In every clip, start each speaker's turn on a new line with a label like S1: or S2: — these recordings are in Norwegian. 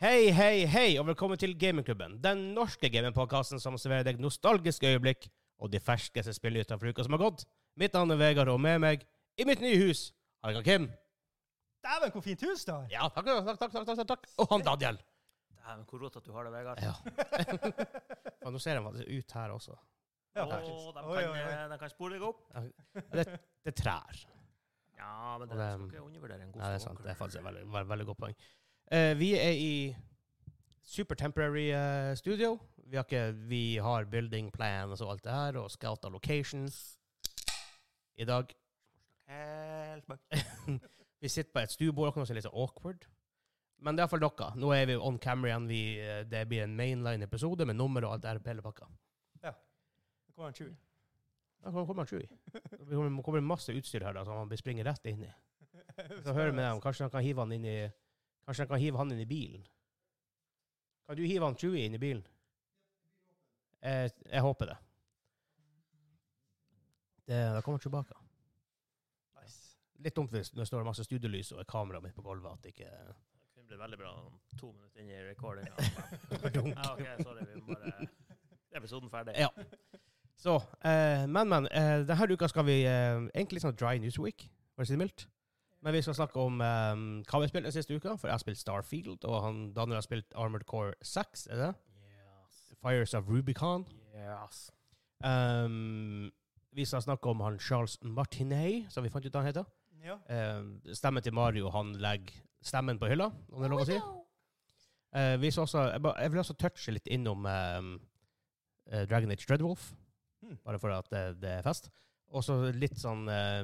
S1: Hei, hei, hei, og velkommen til Gamingklubben. Den norske gamingpodkasten som serverer deg nostalgiske øyeblikk og de ferskeste spillene utenfor uka som har gått. Mitt navn er Vegard, og med meg, i mitt nye hus, har jeg han Kim.
S2: Dæven, hvor fint hus det er!
S1: Ja, takk, takk, takk, takk, takk, takk. Og han Daniel.
S3: Dæven, hvor rått at du har det, Vegard.
S1: Ja. Ja, nå ser han faktisk ut her også.
S2: Ja,
S3: Åh,
S2: faktisk.
S3: de, kan,
S2: Oi, oi, oi.
S3: eh, de kan spore deg opp.
S1: Det, det er trær.
S3: Ja,
S1: Og
S3: men det
S1: det-
S3: skal ikke undervurdere en god
S1: Nei, det er sant.
S3: stalker.
S1: Det er faktisk et veldig, veldig, veldig godt poeng. Eh, vi er i super temporary eh, studio. Vi har, ikke, vi har building plans og alt det her, og scouta locations i dag.
S3: Helt mørkt.
S1: Vi sitter på et stuebord, og kan også være litt sånn awkward. Men det er iallfall dere. Nå er vi on camera igjen. Vi, eh, det blir en mainline-episode med nummer og alt det her på hele pakka.
S2: Det kommer en tjue.
S1: Da kommer- kommer han Chewie. Det kommer- det kommer masse utstyr her da, som han blir springer rett inn i. Så hører vi med dem. Kanskje han kan hive han inn i Kanskje han kan hive han inn i bilen. Kan du hive han Chewie inn i bilen? Jeg, jeg håper det. det da kommer Chewbacca.
S2: Nice.
S1: Litt dumt hvis det står masse studiolys og et kamera midt på gulvet at det ikke
S3: Det kunne bli veldig bra om to minutter inn i recordinga.
S1: Dunk.
S3: Ja, OK, sorry. Vi må bare Episoden ferdig.
S1: Ja. Så, eh, men, men. Eh, denne uka skal vi eh, egentlig litt sånn dry news week, for å si det mildt. Men vi skal snakke om eh, hva vi har spilt den siste uka, for jeg har spilt Starfield, og han Daniel har spilt Armored Core 6, er det?
S3: Yes.
S1: Fires of Rubicon.
S3: Yes.
S1: Um, vi skal snakke om han Charles Martinet, som vi fant ut han heter.
S2: Ja.
S1: Eh, stemmen til Mario, han legger stemmen på hylla, om det er lov å si. Eh, vi skal også, jeg, ba, jeg vil også touche litt innom eh, eh, Dragon Age Dreadwolf,
S2: Hmm.
S1: bare for at det, det er fest. Og så litt sånn eh,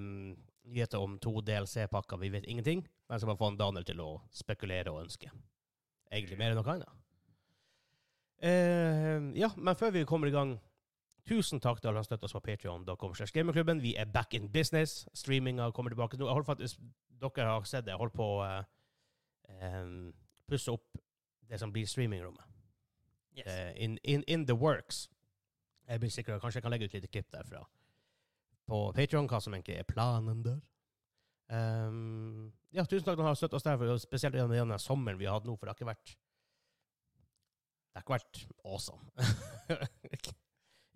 S1: nyheter om to DLC-pakker, vi vet ingenting. Men jeg skal bare få han Daniel til å spekulere og ønske. Egentlig mer enn noe annet. Eh, ja, men før vi kommer i gang Tusen takk til alle som støtter oss på patreon.com. slash Gamerklubben. Vi er back in business. Streaminga kommer tilbake. Nå, jeg holder faktisk, dere har sett det. Jeg holder på å eh, em, pusse opp det som blir streamingrommet.
S3: yes.
S1: Eh, in, in, in the works. Jeg blir sikker, Kanskje jeg kan legge ut litt klipp derfra på Patreon, hva som egentlig er planen der. Ehm, ja, tusen takk for at dere har støttet oss der, for spesielt gjennom denne sommeren vi har hatt nå, for det har ikke vært Det har ikke vært awesome.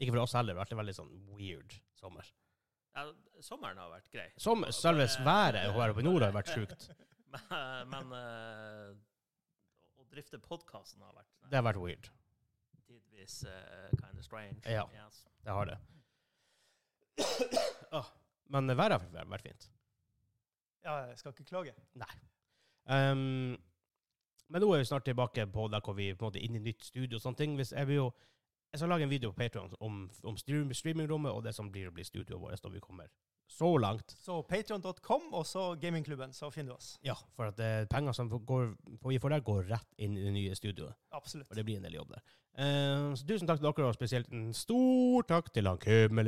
S1: ikke for oss heller, det har vært en veldig sånn weird sommer.
S3: Ja, sommeren har vært grei.
S1: Som selve været her oppe i nord har vært sjukt.
S3: Men, men eh, å drifte podkasten har vært
S1: Det har vært weird.
S3: tidvis kind of strange.
S1: Ja.
S3: Yes.
S1: Det har det. Åh, Men været har vært fint.
S2: ja, jeg skal ikke klage.
S1: Um, men nå er vi snart tilbake på der hvor vi på en måte er inne i nytt studio og sånne ting. Hvis jeg, vil jo, jeg skal lage en video på Patreon om, om stream, streamingrommet og det som blir å bli studioet vårt når vi kommer så langt.
S2: Så patreon.com og så gamingklubben, så finner du oss.
S1: Ja, for at eh, penger som går, vi får der, går rett inn i det nye studioet.
S2: Absolutt.
S1: Og det blir en del jobb der. Um, så tusen takk til dere, og spesielt en stor takk til han Køm.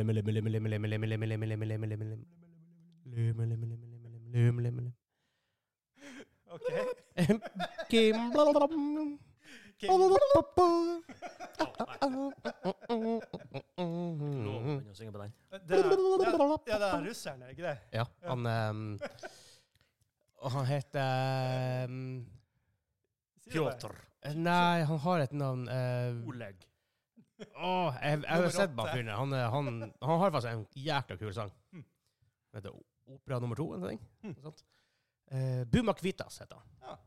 S2: OK.
S1: Kim.
S2: Kim.
S3: Lov
S1: Mhm.
S3: å begynne å synge på den.
S2: Eh, Det er, det er, ja, det er russeren, er ikke det?
S1: Ja, han ehm, Og han heter ehm,
S2: Sier du det?
S1: Nei, han har et navn eh,
S3: Oleg.
S1: åh, jeg, jeg har
S2: Nummer
S1: jo sett bare
S2: åtte.
S1: fyren. der. Han, er- han, han har faktisk en jækla kul sang.
S2: Mm.
S1: Den heter Opera nummer to, eller noe sånt.
S2: Mm.
S1: Noe sånt. Eh, Buma Kvitas heter han.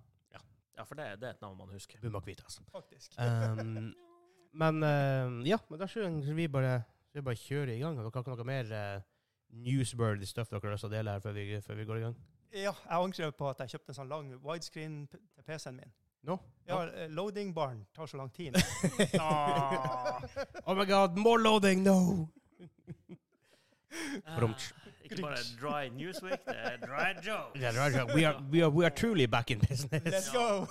S3: Ja, for det, det er et navn man husker.
S1: Buma Kvitas.
S2: Faktisk.
S1: Ehm, men eh, ja, men da skal vi bare, vi bare kjøre i gang. Dere har ikke noe mer eh, newsworthy stuff dere har lyst til å dele her før vi, før vi går i gang?
S2: Ja, jeg angrer på at jeg kjøpte en sånn lang widescreen p- til PC-en min.
S1: Nå?
S2: Ja, eh, loading-baren tar så lang tid.
S3: Ah.
S1: Oh my god, more loading, no! Brumtsch.
S3: Eh, ikke bare Dry Newsweek, det er Dry Joe.
S1: Yeah, right, right. We, are, we, are, we are truly back in business.
S2: Let's go!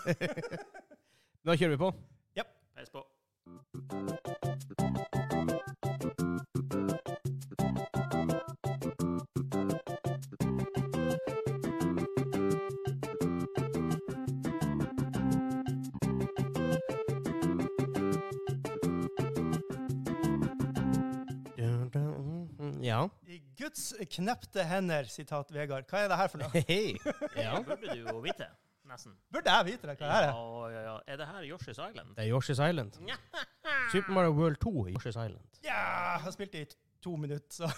S1: Nå kjører vi på.
S3: Peis på.
S1: Ja.
S2: I Guds knepte hender, sitat Vegard. Hva er det her for noe?
S1: Hei.
S3: Det
S1: Ja.
S3: burde du jo vite. Nei, nesten.
S2: Burde jeg vite det? Hva er det?
S3: Ja, ja, ja. Er det her Yoshi's Island?
S1: Det er Yoshi's Island. Super Mario World 2 i Yoshi's Island.
S2: Ja! Jeg har spilt det i t- to minutter, så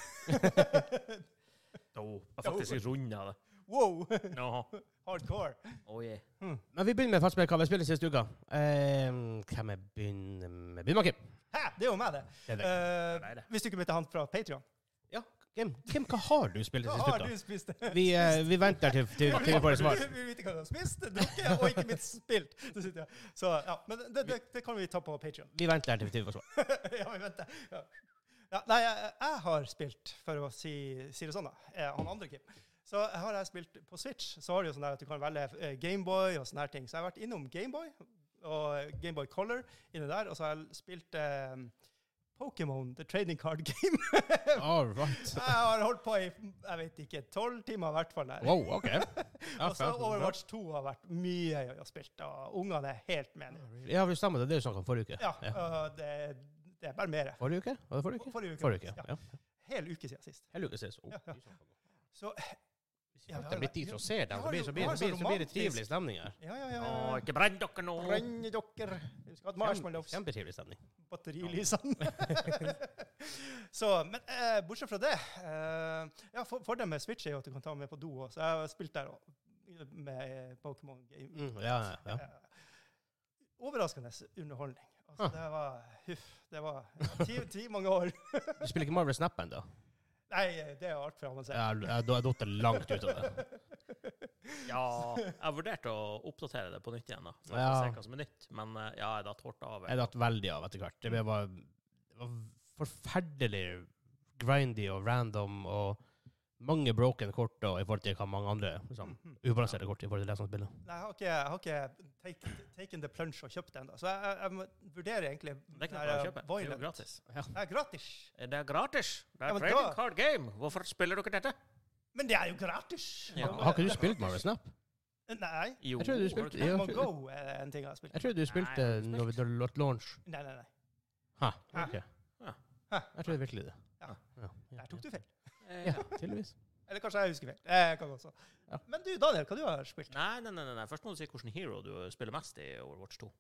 S3: Jo, jeg faktisk runda det.
S2: Wow!
S3: Jaha.
S2: Hardcore.
S3: Oh, yeah.
S1: Men vi begynner med fastspill. Hva vi spilte sist uke? Um, hvem jeg begynner med? Begynn med Kim.
S2: Hæ? Det er jo meg, det.
S1: Det er deg.
S2: Eh,
S3: Nei, det.
S2: hvis du ikke møtte han fra Patrion.
S1: Kim, Kim, hva har du spilt
S2: Hva
S1: sist
S2: har
S1: uke?
S2: du spist?
S1: Vi, eh, vi venter til, til, til vi får et svar.
S2: Vi vil vite hva du har spist, drukket og ikke minst spilt. Så, sitter jeg. så ja, Men det, det, det kan vi ta på Patrion.
S1: Vi venter til vi får svar.
S2: ja, men vent. Ja. Ja, nei, jeg, jeg har spilt, for å si, si det sånn, da. eh, Han andre Kim. Så har jeg spilt på Switch, så har du jo sånn der at du kan velge Gameboy og sånne her ting. Så jeg har vært innom Gameboy og Gameboy Color inne der, og så har jeg spilt eh, Pokémon The Trading Card Game.
S1: All right.
S2: jeg har holdt på i jeg vet ikke, tolv timer i hvert fall. Der.
S1: Wow, OK. Ja,
S2: Og så
S1: fair.
S2: Overwatch 2 har vært mye gøy å spille, og ungene er helt med nå.
S1: Ja, vi stemmer det. Det er jo snakk om forrige uke.
S2: Ja, og det, det er bare mer.
S1: Forrige uke? Var det forrige uke?
S2: Forrige uke.
S1: Forrige uke,
S2: Ja.
S1: ja.
S2: Hel uke siden sist.
S1: Hele uke sist. Oh,
S2: Ja, ja.
S1: fy søren.
S2: Så
S1: Hvis
S2: Ja, vi
S1: folk
S2: har
S1: blir
S2: vært-
S1: dit og ser dem,
S2: vi
S1: så
S2: har
S1: blir,
S2: jo-
S1: så
S2: vi
S1: blir,
S2: har
S1: så blir,
S2: så
S1: så blir det
S2: romantisk.
S1: trivelig stemning her.
S2: Ja, ja, ja.
S3: Å,
S2: ja.
S3: ikke brenn dere nå!
S2: Brenner dere. Vi skal ha marshmallows.
S1: Kjempe- Kjempetrivelig stemning.
S2: Batterilysene. så, men eh, bortsett fra det eh, ja, for, Fordelen med Switch er jo at du kan ta den med på do også. Så Jeg har spilt der også, med Pokémon Game.
S1: Mm, ja, ja, ja.
S2: Eh, Overraskende underholdning.
S3: Ah.
S2: Altså, Det var Huff. Det var ti, ti mange år.
S1: Du spiller ikke Marvel Snap ennå?
S2: Nei, det er altfor avansert.
S1: Jeg jeg- da har jeg datt langt ut av det.
S3: Ja, jeg vurderte å oppdatere det på nytt igjen, da. Så vi
S1: Ja.
S3: får Se hva som er nytt. Men eh, ja, jeg datt hårdt av.
S1: Jeg har datt veldig av etter hvert. Det ble bare det var forferdelig grindy og random og mange broken kort da, i forhold til hva mange andre
S3: sånn.
S1: liksom, ubalanserte kort i forhold til det som spiller.
S2: Mhm. Nei, jeg har ikke, jeg har ikke take, taken the plunge og kjøpt det ennå. Så jeg, jeg, jeg må- vurderer egentlig
S3: Det kan
S2: den
S3: jeg bare
S2: her
S3: kjøpe. Det er jo
S2: Violent.
S3: gratis.
S2: Det er gratis.
S3: Det er gratis! Det
S2: Ja,
S3: er
S2: men
S3: trading
S2: da-
S3: card game! Hvorfor spiller dere dette?
S2: Men det er jo gratis!
S3: Ja.
S1: Har ikke du spilt Marvel Snap?
S2: Nei.
S3: Jo,
S1: Jeg tror du
S3: har
S1: spilte-
S3: ikke det?
S1: Ja,
S2: Pokémon
S1: jeg
S2: Go
S1: tror-
S2: er en ting jeg har spilt.
S1: Jeg tror du spilte
S3: Nei,
S1: når vi lot launch.
S2: Nei, nei, nei.
S1: Ha,
S2: Hæ?
S1: ok.
S3: Ja.
S2: Hæ?
S1: Jeg tror virkelig det.
S2: Ja.
S1: Ja, ja,
S2: Der tok du feil.
S3: Eh,
S1: ja, tydeligvis.
S2: Eller kanskje jeg husker feil. Eh, kan også.
S1: Ja.
S2: Men du, Daniel, hva du har spilt?
S3: Nei, nei, nei, nei, nei. Først må du si hvilken hero du spiller mest i Overwatch 2.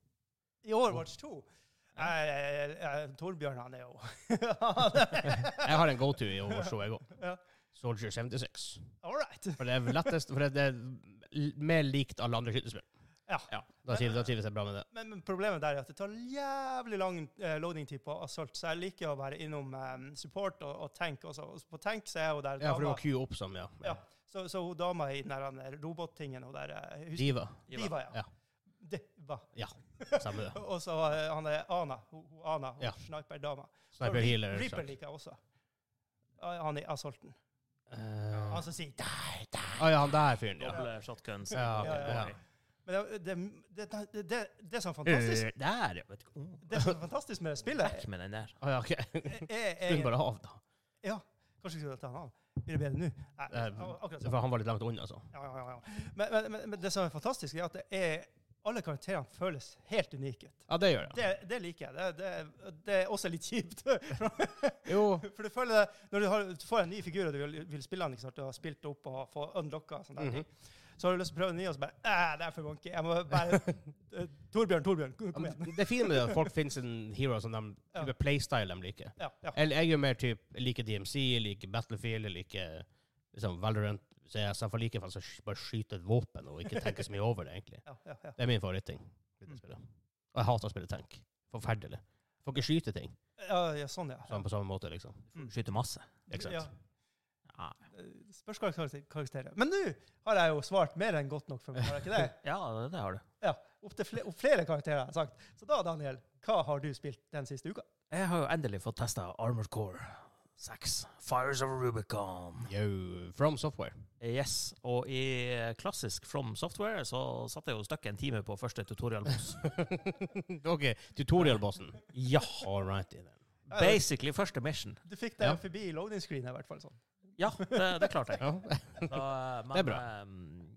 S2: I Overwatch 2?
S3: Ja.
S2: Eh, eh, Torbjørn, han er jo All
S1: Jeg har en go-to i overshow, jeg
S2: Ja.
S1: òg. Soldier 76.
S2: right.
S1: For det er lettest, for det er l- mer likt alle andre skytespill.
S2: Ja.
S1: Da trives, da trives jeg bra med det.
S2: Men, men problemet der er at det tar jævlig lang eh, loading-tid på Assault, så jeg liker å være innom eh, support og, og tank også. Og på tank så er hun der
S1: Ja, for du
S2: dama,
S1: må queue opp som, ja.
S2: Ja. så, så hun dama i den der andre robottingen hun der eh, husker-
S1: Diva.
S2: Diva,
S1: Ja.
S2: ja. Diva.
S1: Stemmer det.
S2: Og så eh, han er Ana. Hun, hun Ana, hun
S1: Ja.
S2: sniperdama.
S1: Sniper
S2: Og Re-
S1: healer. sånn.
S2: Reaper
S1: sak.
S2: liker jeg også. Ah, Han i Assaulten.
S1: Eh,
S2: Han som sier «Die, die!»
S1: Å Ah, ja, han der fyren, ja.
S3: Doble shotguns.
S1: Ja,
S2: ok,
S1: ja.
S2: Men det, det, det, det, det, det som er fantastisk,
S1: Eh, Der, ja. Vet du. Å
S2: det som er fantastisk med det spillet,
S3: Vekk med den der.
S1: Ah, ja, OK.
S2: er, er,
S1: Stund
S2: er
S1: bare av, da.
S2: Ja, kanskje vi skulle ta han av. Blir det bedre nå? Nei,
S1: Eh,
S2: ak- akkurat
S1: For
S2: sånn.
S1: han var litt langt unna, så.
S2: Ja, ja, ja, ja. Men, men, men, men det som er fantastisk, er at det er, alle karakterene føles helt unike ut.
S1: Ja, det gjør jeg.
S2: Det, det liker jeg. Det, det, det er også litt kjipt. For
S1: Jo.
S2: du føler det, Når du, har, du får en ny figur og du vil, vil spille han, ikke sant? du har spilt det opp og få unlocka, og sånne der
S1: Mhm.
S2: ting. så har du lyst til å prøve en ny, og så bare Æh, det er for wonky. Jeg må bare eh, Torbjørn, Torbjørn, kom kom igjen.
S1: Det fine med det er at folk finnes en hero som de
S2: Ja.
S1: type playstyle de liker.
S2: Ja, ja.
S1: Eller jeg er jo mer typ, liker DMC, liker Battlefield, liker liksom Valorant. Så jeg, så jeg liker faktisk å sk- bare skyte et våpen og ikke tenke så mye over det, egentlig.
S2: ja, ja, ja.
S1: Det er min favoritting. i det spillet. Og jeg hater å spille tank. Forferdelig. Får ikke skyte ting
S2: ja, ja sånn, ja.
S1: sånn på samme måte, liksom.
S2: Mm.
S3: Skyter masse.
S1: Ikke
S2: Ja.
S1: sant?
S3: Ja,
S2: Eh, Spørs hva karakter- karakterer. Men nå har jeg jo svart mer enn godt nok for meg, har jeg ikke det?
S3: ja det, det har du.
S2: Ja, opp til flere, opp flere karakterer har jeg sagt. Så da, Daniel, hva har du spilt den siste uka?
S3: Jeg har jo endelig fått testa Armored Core 6. Fires of Rubicon.
S1: Yo, from software.
S3: Yes, og i eh, klassisk From Software så satt jeg jo støkk en time på første tutorial-boss.
S1: OK, tutorial-bossen. Ja. All righty then.
S2: Ja,
S3: Basically første mission.
S2: Du fikk deg
S1: Ja.
S2: forbi loading screen i hvert fall. sånn.
S3: Ja, det, det klarte jeg.
S1: Ja.
S3: Så, eh, men,
S1: Det er bra.
S3: ehm,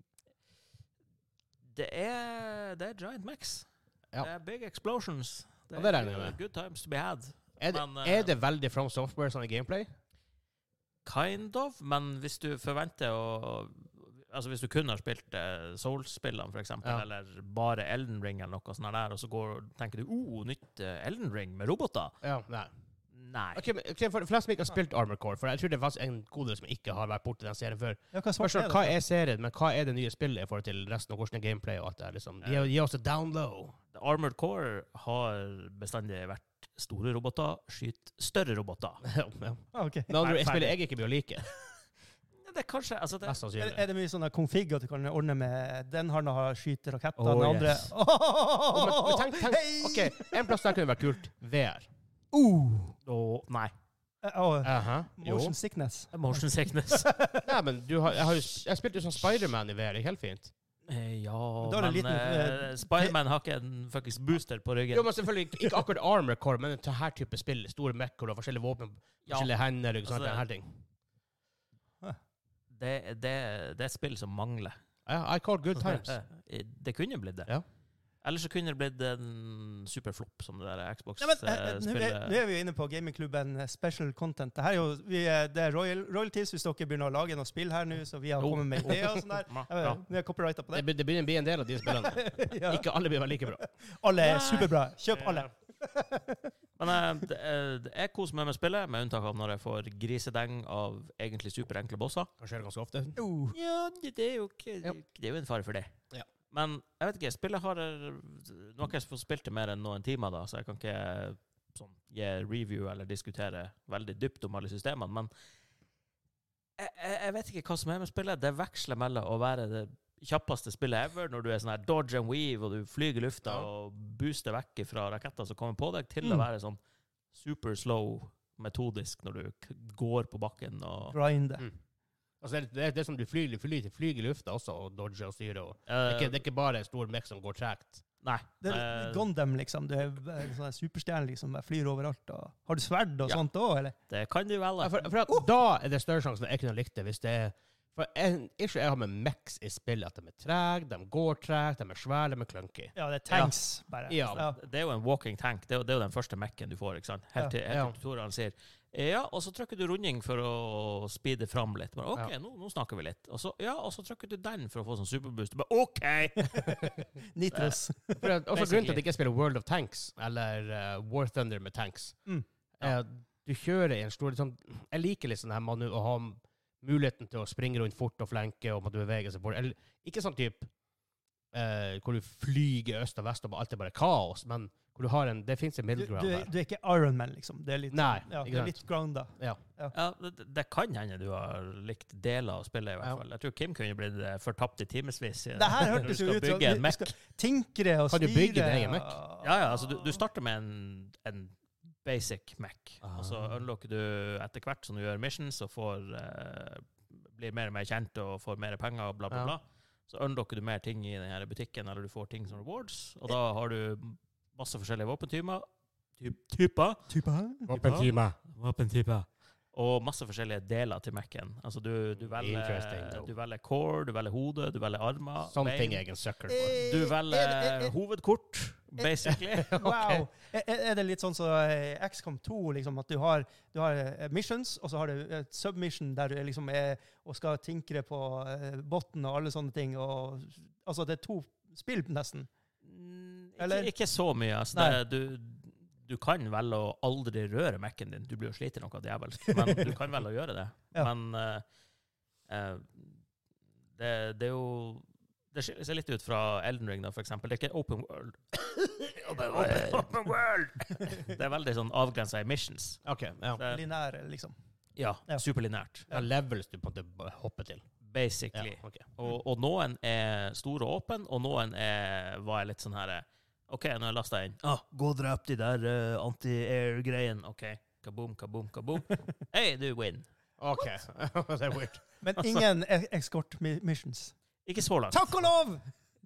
S3: det, er, det er Giant Max.
S1: Ja.
S3: Det er big explosions.
S1: Ja, det regner jeg med.
S3: good, good times to be had.
S1: Er, det,
S3: Men, eh,
S1: er det veldig from software sånn i gameplay?
S3: Kind of, men hvis du forventer å altså Hvis du kun har spilt eh, Souls-spillene, f.eks., eksempel,
S1: Ja.
S3: eller bare Elden Ring, eller noe sånt der, og så går, tenker du oh, nytt eh, Elden Ring med roboter
S1: Ja, nei.
S3: Nei.
S1: Ok, men ok, for de fleste som ikke har spilt Armor Core, for jeg tror det er faktisk en god del som ikke har vært borti den serien før.
S2: Ja, hva
S1: Spørsmål,
S2: svarte
S1: hva
S2: jeg?
S1: er serien, men hva er det nye spillet i forhold til resten, og hvordan er gameplay og alt det her, liksom? Gi gi oss et down low.
S3: Armored Core har bestandig vært store roboter, skyter større roboter.
S1: Ja, ja.
S2: Ah, ok.
S1: Men andre
S3: Ferdig.
S1: spillet jeg ikke blir å like,
S3: Ja, det er kanskje altså det,
S1: mest
S2: Er,
S1: sannsynlig.
S2: er det mye sånn der config at du kan ordne med den handa har skyter raketter,
S1: Oh,
S2: den andre
S1: yes.
S2: Åh,
S1: men- men tenk- tenk-
S2: hei!
S1: Ok, en plass der kunne vært kult. VR.
S2: Uh,
S3: Å, nei.
S2: eh, åh,
S1: Aha, jo.
S2: motion sickness.
S3: Motion sickness.
S1: Nei, men du har, jeg, har jo, s- jeg spilte jo som Spider-Man i VR, det gikk helt fint.
S3: Eh, ja,
S2: Da er det
S3: men
S2: liten, eh,
S3: eh, Spiderman har ikke en fuckings booster på ryggen.
S1: Jo, men selvfølgelig ikke- ikke akkurat Armor Core, men til her type spill. Store mekk og forskjellige våpen,
S3: Ja.
S1: forskjellige hender og sånne
S3: Altså,
S1: her ting.
S3: det, det, det er et spill som mangler.
S1: Ja, I call good times.
S3: Eh, Det kunne blitt det.
S1: Ja.
S3: Eller så kunne det blitt en superflopp, som det der
S2: Nei, men, eh, eh, Nå er, nå
S3: Xbox-spillet.
S2: er vi jo inne på gamingklubben eh, special content. Det, her er jo, vi, eh, det er royal, royalties hvis dere begynner å lage noe spill her nå, så vi har
S3: Jo.
S2: kommet med ideer og sånn der.
S3: Ja.
S2: Jeg vet, Nå er jeg copyrighta på
S1: Det,
S2: det.
S1: be- det begynner å bli en del av de spillene.
S2: ja.
S1: Ikke alle blir vel like bra.
S2: Alle er
S3: Nei.
S2: superbra. Kjøp alle.
S3: Men eh, det, eh, det- jeg koser meg med spillet, med unntak av når jeg får grisedeng av egentlig superenkle bosser.
S1: Kan skje ganske ofte.
S2: Uh.
S3: Ja, det det er jo ikke
S1: Ja.
S3: Det er jo en fare for det.
S1: Ja.
S3: Men jeg vet ikke, spillet har Nå har ikke jeg fått spilt det mer enn noen timer, da, så jeg kan ikke sånn, gi review eller diskutere veldig dypt om alle systemene, men jeg, jeg, jeg vet ikke hva som er med spillet. Det veksler mellom å være det kjappeste spillet ever, når du er sånn her dodge and weave, og du flyger i lufta
S1: Ja.
S3: og booster vekk fra raketter som kommer på deg, til å
S2: Mm.
S3: være sånn super slow metodisk når du k går på bakken og
S2: Grinde.
S1: Mm. Altså, det, er- det, er- det er som du flyr, flyr, flyr i lufta også, og dodger og styrer. Og. Det, er
S3: Eh,
S1: ikke, det er ikke bare en stor mech som går tregt.
S3: Nei.
S2: Det er
S3: eh,
S2: Gundam, liksom. Du er en sånn superstjerne liksom. Jeg flyr overalt. Og... Har du sverd og
S3: Ja.
S2: sånt òg, eller?
S3: Det kan du vel.
S1: Ja, for, for at, Da er det større sjanse for at jeg kunne ha likt det. Hvis det er For en issue jeg har med mechs i spillet, at de er trege, de går tregt, de er svære, de er clunky.
S2: Ja, det er tanks, bare.
S1: Ja.
S3: Det er jo en walking tank. Det er jo, det er jo den første Mac-en du får. ikke sant? Helt til, helt
S1: Ja.
S3: til tutorialen sier ja, og så trykker du runding for å speede fram litt. Bare, OK,
S1: Ja.
S3: nå, nå snakker vi litt. Og så, ja, og så trykker du den for å få sånn superboost. Bare, OK!
S2: Nitros.
S1: For at, også grunnen til
S3: Basically.
S1: at jeg ikke spiller World of Tanks, eller eh, War Thunder med tanks,
S2: Mm.
S1: er at du kjører i en stor liksom, Jeg liker litt sånn her manu å ha m- muligheten til å springe rundt fort og flenke, og at du beveger seg bort. Eller, ikke sånn type eh, hvor du flyger øst og vest og alt er bare kaos, men hvor du har en Det fins en
S2: Du,
S1: middle
S2: du,
S1: ground
S2: er-
S1: der.
S2: du er ikke Ironman, liksom. Det er litt,
S1: Nei,
S2: ja, du
S1: ikke
S2: er
S1: sant.
S2: litt grounda.
S3: Ja, det, det kan hende du har likt deler av spillet, i hvert
S1: Ja.
S3: fall. Jeg tror Kim kunne blitt eh, fortapt i timevis. i-
S2: Det her
S3: når
S2: hørtes
S3: du
S2: jo
S3: skal
S2: ut som
S3: bygge en
S2: du-
S3: Mac.
S2: du skal Tinkre og
S1: Kan du
S2: styre
S1: bygge din egen Mac?
S2: og-
S3: Ja, ja, altså du, du starter med en, en basic Mac, og så
S1: Ah.
S3: unlocker du etter hvert som du gjør missions og får, eh, blir mer og mer kjent og får mer penger og bla, bla,
S1: Ja.
S3: bla. Så unlocker du mer ting i den her butikken, eller du får ting som rewards, og da har du masse forskjellige våpentyper, ty typer,
S2: Type,
S1: Våpentime.
S3: våpentyper, og masse forskjellige deler til Mac-en. Altså du, du,
S1: Interesting,
S3: velger,
S1: though.
S3: du velger core, du velger hode, du velger armer,
S1: Sånne
S3: bein.
S1: ting er jeg en sucker for.
S2: Eh,
S3: Du velger hovedkort, basically.
S2: Wow. Er, er er det litt sånn som eh, XCOM 2, liksom, at du har, du har eh, missions, og så har du et submission der du er liksom er og skal tinkre på eh, botten og alle sånne ting. Og, altså det er to spill, nesten.
S3: Mm,
S2: Eller?
S3: Ikke, ikke så mye. Altså,
S2: Nei.
S3: det, du, du kan velge å aldri røre Mac-en din. Du blir jo sliten noe djevelsk, men du kan velge å gjøre det.
S2: Ja.
S3: Men eh, eh, det, det er jo Det skiller seg litt ut fra Elden Ring, da, for eksempel. Det er ikke open world. open,
S1: world.
S3: open world! det er veldig sånn avgrensa i missions.
S1: OK. Ja.
S3: Det,
S2: Linære, liksom.
S3: ja,
S2: Ja.
S3: superlinært.
S1: Ja, levels du på en måte bare hopper til. Ja,
S3: Basically.
S1: ok.
S3: Og, og noen er stor og åpen, og noen er, var jeg litt sånn her OK, nå har jeg lasta inn. Ah, gå og drep de der eh, anti-air-greien. OK. Kaboom, kaboom, kaboom. Hey, du win.
S1: OK. det er weird.
S2: Men ingen e- escort mi- missions.
S3: Ikke så langt.
S2: Takk og lov!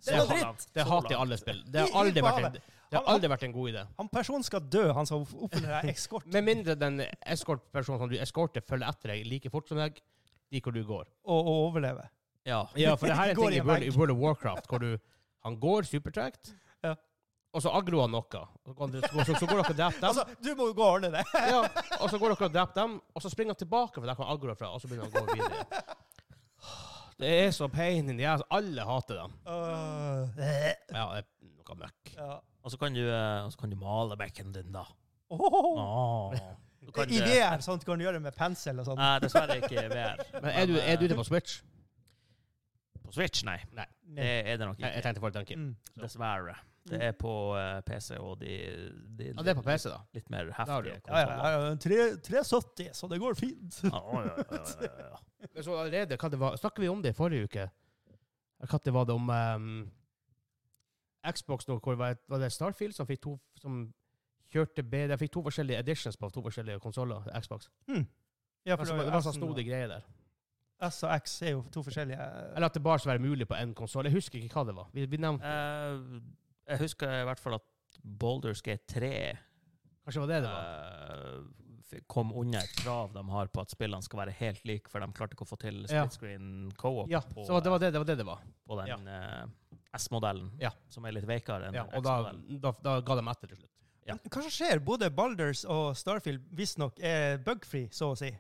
S3: Så
S2: Det er
S3: langt,
S2: dritt!
S1: Det
S3: så
S1: hater jeg
S3: langt.
S1: alle spill. Det har
S2: I- i
S1: aldri vært en,
S2: havet.
S1: det har aldri vært en god idé.
S2: Han personen skal dø, han som oppfyller deg escort.
S1: Med mindre den eskortpersonen som du eskorter, følger etter deg like fort som deg, dit hvor du går.
S2: Og, og overleve.
S3: Ja.
S1: Ja, for det her er
S2: Går
S1: ting
S2: i
S1: i
S2: en
S1: World,
S2: vegg.
S1: i World of Warcraft, hvor du Han går supertregt,
S2: Ja.
S1: og så agroer han noe. Og Så, går han- så, så, så går dere og dreper dem,
S2: Altså, du må jo gå og ordne det.
S1: ja, og så går dere og dreper dem, og så springer han tilbake, for der kan agroer fra, og så begynner han å gå videre. Det er så pain in the ass. Alle hater dem.
S2: Øh, eh,
S1: Ja, det er noe møkk.
S2: ja.
S3: Og så kan du, eh, og så kan du male bekken din, da.
S2: Åh.
S3: Åh. Du kan,
S2: I
S3: eh,
S2: VR sånt kan du gjøre det med pensel og sånn.
S3: Nei, dessverre ikke i VR.
S1: Men er du, er du ute på Switch?
S3: På Switch, nei. Det er det nok
S1: Jeg, jeg
S3: ikke.
S1: tenkte for tanken.
S2: Mm.
S3: Dessverre. Det er på eh, PC og de, de
S1: Ja, det er på PC, da.
S3: litt mer
S1: har du
S3: heftige
S1: det.
S2: Ja, ja,
S3: konsoller.
S2: ja, ja. Tre- 370, så det går fint.
S3: Ja, ja, ja, ja, ja, ja.
S1: Men så allerede, hva det var, snakker vi om det i forrige uke? Når var det om ehm, Xbox nå, hvor var, var det Starfield som fikk to som kjørte bedre? Jeg fikk to forskjellige editions på to forskjellige konsoller, Xbox.
S2: Ja,
S1: Altså, det var sånn snodig greie der.
S2: S og X er jo to forskjellige
S1: Eller at det bare skulle være mulig på én konsoll. Jeg husker ikke hva det var. Vi, vi nevnte,
S3: Eh, jeg husker i hvert fall at Baldur's Gate 3
S1: kanskje det var det det var?
S3: eh, f- kom under et krav de har på at spillene skal være helt like, for de klarte ikke å få til
S1: Ja.
S3: split screen co-op
S1: Ja,
S3: på,
S1: så det var det det var. Det det var.
S3: på den eh, S-modellen,
S1: Ja.
S3: som er litt veikere enn
S1: Ja, og da,
S3: X-modellen.
S1: da, da ga de etter til slutt.
S3: Ja.
S2: Men Hva som skjer? Både Balders og Starfield visstnok er bugfree, så å si.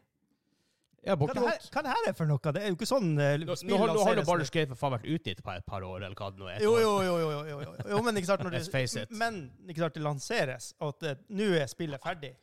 S1: Ja,
S2: Hva det, her,
S1: bortimot.
S2: hva det her er for noe? Det er jo ikke sånn eh,
S1: Nå,
S2: spill
S1: nå har- nå har jo
S2: lanseres
S1: Baldur's
S2: med.
S1: Gate for faen vært ute i et par, par år, eller hva det nå er.
S2: jo, jo, jo, jo, jo, jo, jo. jo, men ikke sant når
S1: Let's face
S2: det,
S1: it.
S2: men, ikke sant, det lanseres, og at eh, nå er spillet ferdig.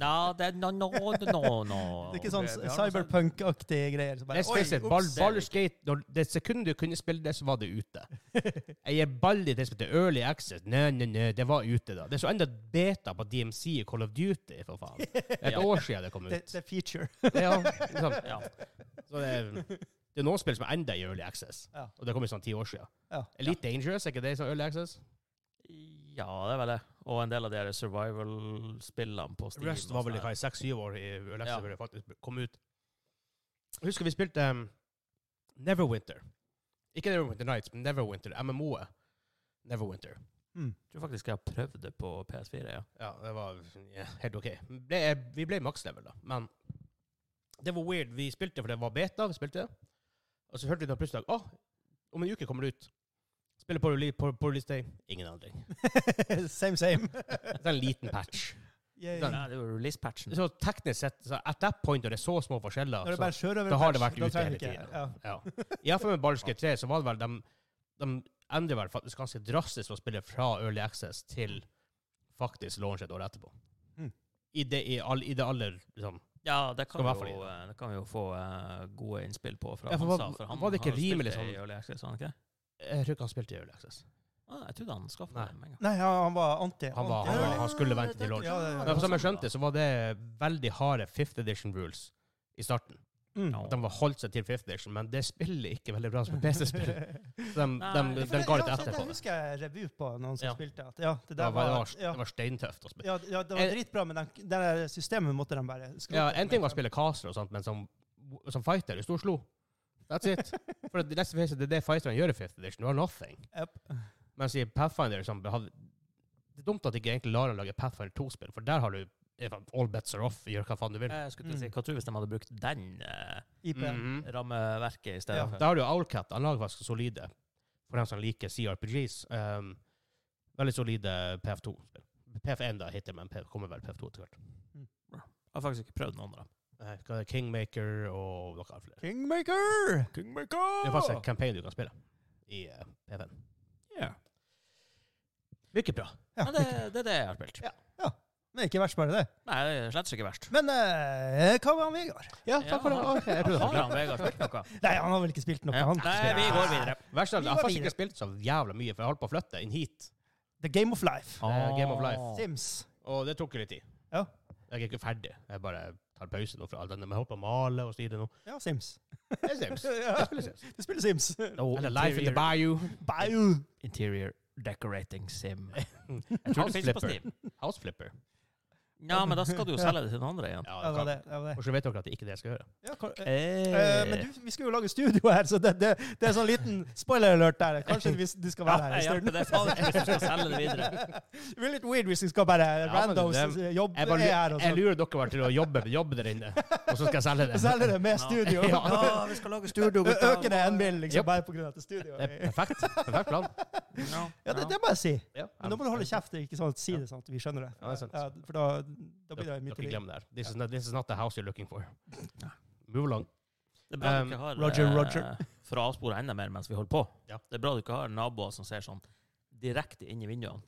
S3: Ja, det er no, no, no, no.
S2: Det er ikke sånn
S3: Vi- vi har noe sånt-
S2: cyberpunk-aktige greier. som bare,
S1: Let's face
S2: oi,
S1: it, Bal
S2: ups.
S1: Baldur's Gate, når det sekundet du kunne spille det, så var det ute. Jeg gir ball i det som heter Early Access. Nei, nei, nei, det var ute da. Det er så enda beta på DMC i Call of Duty, for faen. Et
S3: Ja.
S1: år siden det kom
S2: Det,
S1: ut.
S2: det er feature.
S1: Ja, liksom.
S3: Ja.
S1: Så det, er, det er noen spill som er enda i Early Access,
S2: Ja.
S1: og det kom ut sånn ti år siden.
S2: Ja.
S1: Elite Dangerous, er ikke det i sånn Early Access?
S3: ja, det er vel det. Og en del av de her survival-spillene på Steam.
S1: Rust var vel hva, i seks-syv år i Early Access før det faktisk kom ut. Jeg husker vi spilte um, Neverwinter. Ikke Neverwinter Nights, men Neverwinter, MMO-et. Neverwinter.
S3: Jeg tror faktisk jeg har prøvd det på PS4, ja.
S1: Ja, det var ja, helt OK. Ble, vi ble makslevel, da. Men det var weird. Vi spilte for det var beta. vi spilte. Og så hørte vi da plutselig at «Å, om en uke kommer det ut. Spiller på, rele- på, på release day. Ingen endring.
S2: same, same.
S1: Det er en liten patch.
S2: Yay.
S1: Den-
S3: Nei, det er jo release-patchen.
S1: Så teknisk sett, så at that point, når det er så små forskjeller
S2: Når det bare er
S1: altså,
S2: sjørøverpatch,
S1: da har det vært
S2: da
S1: ute hele
S2: trenger vi ikke-
S1: tiden.
S2: Ja.
S1: så, ja. Iallfall med Balske 3, så var det vel de, de endrer vel faktisk ganske drastisk å spille fra Early Access til faktisk launch et år etterpå. Hmm.
S2: Mm.
S1: I, det, i, all, I det aller liksom,
S3: Ja, det
S1: Skal
S3: kan,
S1: i
S3: vi
S1: hvert fall
S3: jo, eh, det kan vi jo få eh, gode innspill på fra
S1: Ja, for
S3: Hansa,
S1: var-
S3: for han
S1: var det ikke
S3: har jo spilt
S1: rimelig
S3: det i
S1: sånn-
S3: Early Access, har han ikke? det?
S1: Jeg tror ikke han spilte i Early Access.
S3: Ah, jeg trodde han skaffa
S1: Nei.
S3: det med en gang.
S2: Nei, han, han var anti.
S1: Han var- han
S2: anti-
S1: var- han skulle vente til launch.
S2: Ja, det-
S1: Men som jeg skjønte, så var det veldig harde fifth edition rules i starten.
S2: Mm.
S3: Ja.
S1: De var holdt seg til fifth edition, men det spiller ikke veldig bra som PC-spill. Så de, de,
S3: Nei,
S1: de,
S2: For det-
S1: ga litt
S2: ja, altså,
S1: etter
S2: det
S1: på det.
S2: husker jeg revy på noen som
S1: Ja.
S2: spilte. At, ja, det
S1: Det var,
S2: der
S1: det
S2: var,
S1: var,
S2: ja,
S1: det var steintøft å spille.
S2: ja, ja, det var
S1: Eh,
S2: dritbra, men den, det der systemet måtte de bare skrote.
S1: Ja, en ting var å spille caster og sånt, men som, som fighter, du storslo. That's it. For det, let's face it, det er det fighterne gjør i fifth edition. Du har nothing.
S2: Yep.
S1: Mens i Pathfinder som hadde, Det er dumt at de ikke egentlig lar deg lage Pathfinder 2-spill, for der har du all bets are off. Gjør hva faen du vil.
S3: Jeg skulle til å si,
S2: Mm.
S3: Hva tror du hvis de hadde brukt den eh,
S2: IP.
S1: Mhm.
S3: rammeverket i stedet
S2: Ja,
S3: for?
S1: Da har du Owlcat. Han lager faktisk solide, for dem som liker CRPGs, ehm, veldig solide PF2. PF1 da hittil, men PF kommer vel PF2 etter hvert.
S3: Jeg har faktisk ikke prøvd noen av dem.
S1: Eh, hva er det? Kingmaker og noe annet flere.
S2: Kingmaker!
S1: Det er faktisk en campaign du kan spille i eh, PF1.
S3: Ja.
S1: Virker bra.
S2: Ja,
S3: Men det, det er det jeg har spilt.
S2: Ja. Men ikke verst bare det.
S3: Nei, det er slett ikke verst.
S2: Men eh, hva med han Vegard?
S1: Ja,
S3: takk for det. Ok,
S1: jeg
S3: Har
S1: prøvde
S3: han Vegard spilt noe?
S2: Nei, han har vel ikke spilt noe?
S3: Ja.
S2: Han.
S3: Nei, vi går videre.
S1: Verst er at
S2: Vi
S1: jeg har
S2: går
S1: faktisk
S2: videre.
S1: ikke spilt så jævla mye, for jeg holdt på å flytte inn hit.
S2: The Game of Life.
S1: Eh, Game of Life.
S2: Sims.
S1: Og det tok jo litt tid.
S2: Ja.
S1: Jeg er ikke ferdig. Jeg bare tar pause nå fra alt denne. Men jeg holdt på å male og styre nå.
S2: Ja, Sims.
S1: Det er Sims.
S2: Ja.
S1: Jeg spiller Sims.
S2: Du spiller Sims.
S3: Og
S1: Eller Life in the
S3: interior-
S1: Bayou.
S2: Bau!
S3: Interior Decorating Sim.
S1: Jeg tror
S3: Han
S1: det
S3: finnes
S1: finnes
S3: på Steam.
S1: House Flipper.
S3: Ja, men da skal du jo selge det til den andre igjen.
S1: Ja,
S2: Ja, det var det. det, var det.
S1: Hvordan vet dere at det ikke er det jeg skal gjøre?
S2: Ja, hva- eh,
S3: Eh,
S2: eh, men du, vi skulle jo lage studio her, så det, det, det er sånn liten spoiler alert der. Kanskje hvis du skal
S3: ja,
S2: være her en
S3: jeg
S2: stund.
S3: hjelper deg faen ikke hvis du skal selge det videre.
S2: Det blir litt weird hvis vi skal bare
S1: men
S2: randos
S1: det-
S2: jobbe
S1: Jeg, bare,
S2: er her
S1: lurer-
S2: og
S1: jeg
S2: sånn.
S1: lurer dere bare til å jobbe, jobbe der inne, og så skal jeg selge det.
S2: Og selge det med studio.
S1: Ja.
S3: Ja, vi skal lage studio.
S2: Ø- Øke det en mil, liksom,
S1: Yep.
S2: bare på grunn av at det er studio.
S1: Det er perfekt. Perfekt plan.
S2: Ja, det, det må jeg si.
S1: Ja,
S2: Men da må du holde kjeft, ikke sånn at si det sånn at vi skjønner det.
S1: Ja, det er sant.
S2: for da, da blir det
S1: Dere
S2: mye til.
S1: glemmer det her. This is, not, this is not the house you're looking for. Move along.
S3: Det er bra
S1: Um,
S3: du ikke har
S2: Roger,
S3: eh,
S2: Roger.
S3: For å avspore enda mer mens vi holder på.
S1: Ja.
S3: Det er bra du ikke har naboer som ser sånn direkte inn i vinduene.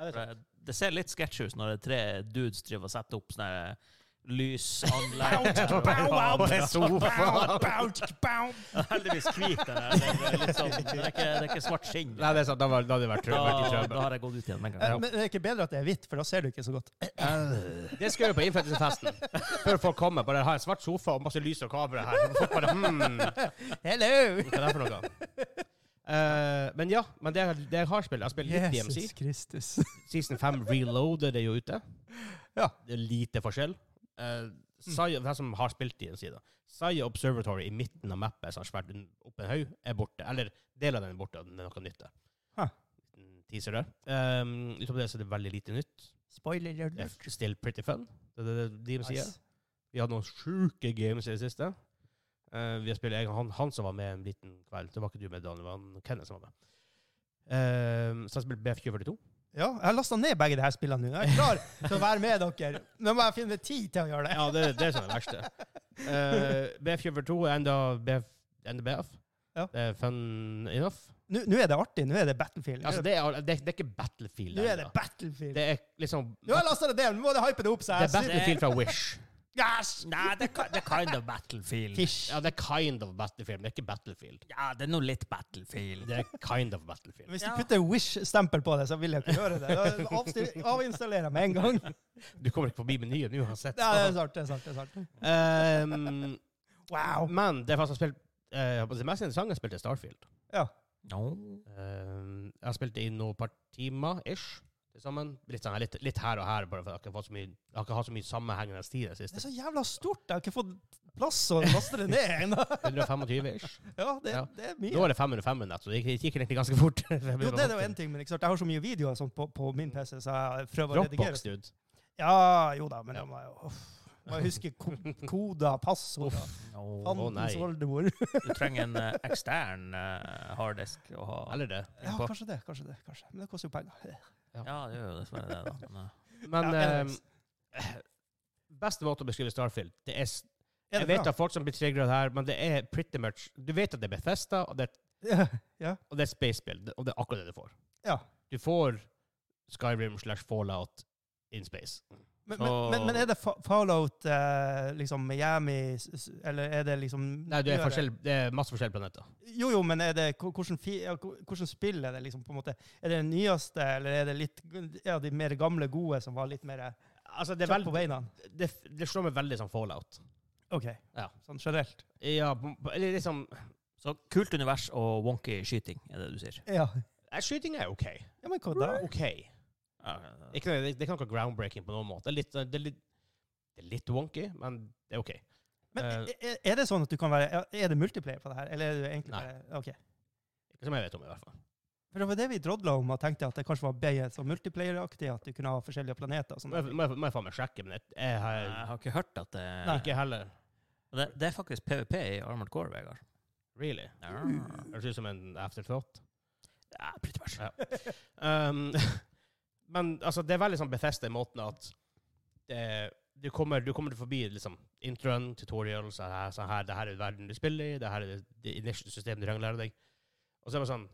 S2: Ja, det er
S3: For
S2: sant.
S3: Det, det ser litt sketsj ut når det er tre dudes driver og setter opp sånne her
S2: Bow,
S3: lysanlegg.
S2: bow, bow,
S1: På en
S3: sånn.
S1: sofa.
S2: Bow, bow, bow.
S3: Heldigvis hvit den her. Det er, litt sånn, det, er ikke, det er ikke svart skinn.
S1: Nei, det er sant. Da, var, da hadde det vært trø-
S3: Da,
S1: vært i
S3: da
S1: trøbbel.
S3: har jeg gått ut igjen med en
S2: Eh,
S3: gang.
S2: Men det er ikke bedre at det er hvitt, for da ser du ikke så godt.
S1: Det skal jeg gjøre på innflyttelsesfesten. Før folk kommer. Bare ha en svart sofa og masse lys og kamera her. Så folk bare, hmm,
S2: Hello!
S1: hva er det her for noe? Eh, men ja, men det, det jeg har spilt Jeg har spilt litt DMC.
S2: Kristus.
S1: Season 5 Reloaded er jo ute.
S2: Ja. Mm.
S1: Det er lite forskjell. Uh, Saya, de som har spilt DMC, da. Saya Observatory i midten av mappet, som har svært opp en haug, er borte. Eller deler av den er borte, og den er noe nytt der.
S2: Huh.
S1: Liten Teaser der. Um, Utenom det så er det veldig lite nytt.
S2: Spoiler
S1: Det
S2: alert.
S1: er still pretty fun. Det er det DMC er.
S2: Nice.
S1: Vi hadde noen sjuke games i det siste. Eh, vi har spilt, jeg, han, han som var med en liten kveld. Det var ikke du med, Daniel. Det var han Kenneth som var med. Eh, så jeg spilte BF2042.
S2: Ja, jeg har lasta ned begge de her spillene nå. Jeg er klar til å være med dere. Nå må jeg finne tid til å gjøre det.
S1: Ja, det, det er sånn det verste. Eh, BF2042 er enda BF. Enda BF.
S2: Ja.
S1: Det er fun enough.
S2: Nå, nå er det artig. Nå er det Battlefield. Nå er
S1: Altså,
S2: det-
S1: det, er, det, er- det er ikke Battlefield.
S2: Nå er det
S1: ennå.
S2: Battlefield.
S1: det er liksom
S2: Nå har jeg lasta det ned. Nå må det hype det opp. Så
S1: Det
S2: jeg
S1: er Battlefield fra Wish.
S2: Yes!
S3: Nei, det er, ki- det er kind of battlefield.
S1: Ja, det er kind of Battlefield, men det er ikke Battlefield.
S3: Ja, det er nå litt battlefield.
S1: Det er kind of Battlefield.
S2: Hvis du
S3: Ja.
S2: putter Wish-stempel på det, så vil jeg ikke gjøre det. Da avstil- Avinstallerer jeg med en gang.
S1: Du kommer ikke forbi menyen uansett.
S2: Ja, det er sant, det er sant. det er sant.
S1: Ehm,
S2: Wow.
S1: Men det er faktisk spilt eh, jeg holdt på å si, mest interessante jeg spilte er Starfield.
S2: Ja.
S3: No.
S1: Ehm, jeg har spilt det i noen par timer ish. til Sammen. Litt, sånn, her- litt, litt her og her, bare for jeg har ikke fått så mye, jeg har ikke hatt så mye sammenhengende tid i det
S2: Det er
S1: siste.
S2: så jævla stort. Jeg har ikke fått plass å laste det ned ennå.
S1: 125 ish.
S2: Ja, det,
S1: Ja.
S2: det er
S1: Nå
S2: mye.
S1: er det 505 nett, så det gikk, det gikk egentlig ganske fort.
S2: Jo, det er jo en ting, men ikke sant? jeg har så mye videoer sånn på, på min PC, så jeg prøver å redigere.
S1: Dropbox, dude.
S2: Ja, jo da, men
S1: Ja.
S2: jeg må jo uff. Må jo huske ko koder, passord og
S3: No.
S1: Å, nei.
S2: fandens oldemor.
S3: Du trenger en eh, ekstern eh, harddisk å ha.
S1: Eller det.
S2: Ja,
S1: På-
S2: kanskje det. kanskje det, kanskje. Men det koster jo penger.
S3: Ja, det gjør jo dessverre det. da. Men, eh,
S1: Men
S2: Ja,
S1: ehm,
S2: anyways.
S1: beste måte å beskrive Starfield Det er, s-
S2: Er
S1: Jeg
S2: det
S1: vet
S2: bra?
S1: at folk som blir triggeret her, men det er pretty much Du vet at det er Bethesda, og det er,
S2: Ja.
S1: og det er et spacespill, og det er akkurat det du får.
S2: ja.
S1: Du får Skyrim slash Fallout in space.
S2: Men, men, men, men er det fa Fallout eh, liksom Miami, s- s- eller er det liksom
S1: Nei, det er,
S2: gjør
S1: forskjell, det er masse forskjellige planeter.
S2: Jo, jo, men er det hva- hvordan, fi- ja, hva- hvordan spill er det liksom på en måte? Er det den nyeste, eller er det litt ja, de mer gamle gode som var litt mer
S1: Altså, det, er
S2: kjapp på
S1: veld,
S2: beina?
S1: det, det slår meg veldig som Fallout.
S2: OK.
S1: Ja.
S2: Sånn generelt.
S1: Ja, på- på- eller liksom
S3: Så kult univers og wonky skyting, er det du sier.
S2: Ja.
S1: eh, Skyting er OK.
S2: ja, men hva da?
S1: OK. Ikke, det, det kan ikke være groundbreaking på noen måte. Det er litt, det er litt, det er litt wonky, men det er OK.
S2: Men
S1: Eh.
S2: er, er det sånn at du kan være ja, Er det multiplayer på det her, eller er det egentlig
S1: Nei.
S2: bare OK.
S1: Ikke som jeg vet om, i hvert fall.
S2: For det var det vi drodla om, og tenkte at det kanskje var bedre sånn multiplayeraktig, at du kunne ha forskjellige planeter og sånn.
S1: Må jeg, må jeg, må jeg faen meg sjekke, men jeg, jeg har
S3: Jeg har ikke hørt at det
S1: ikke heller
S3: det, det er faktisk PVP i Armored Core, Vegard.
S1: Really?
S3: Ja,
S1: Høres ut som en afterthought.
S3: Ja, pretty much.
S1: Ja. Um, men altså, det er veldig sånn Bethesda i måten at det, du, kommer, du kommer til forbi liksom, introen, tutorial, så her, så her, det her er verden du spiller i, det her er det, det initial systemet du trenger å lære deg. Og så er det bare sånn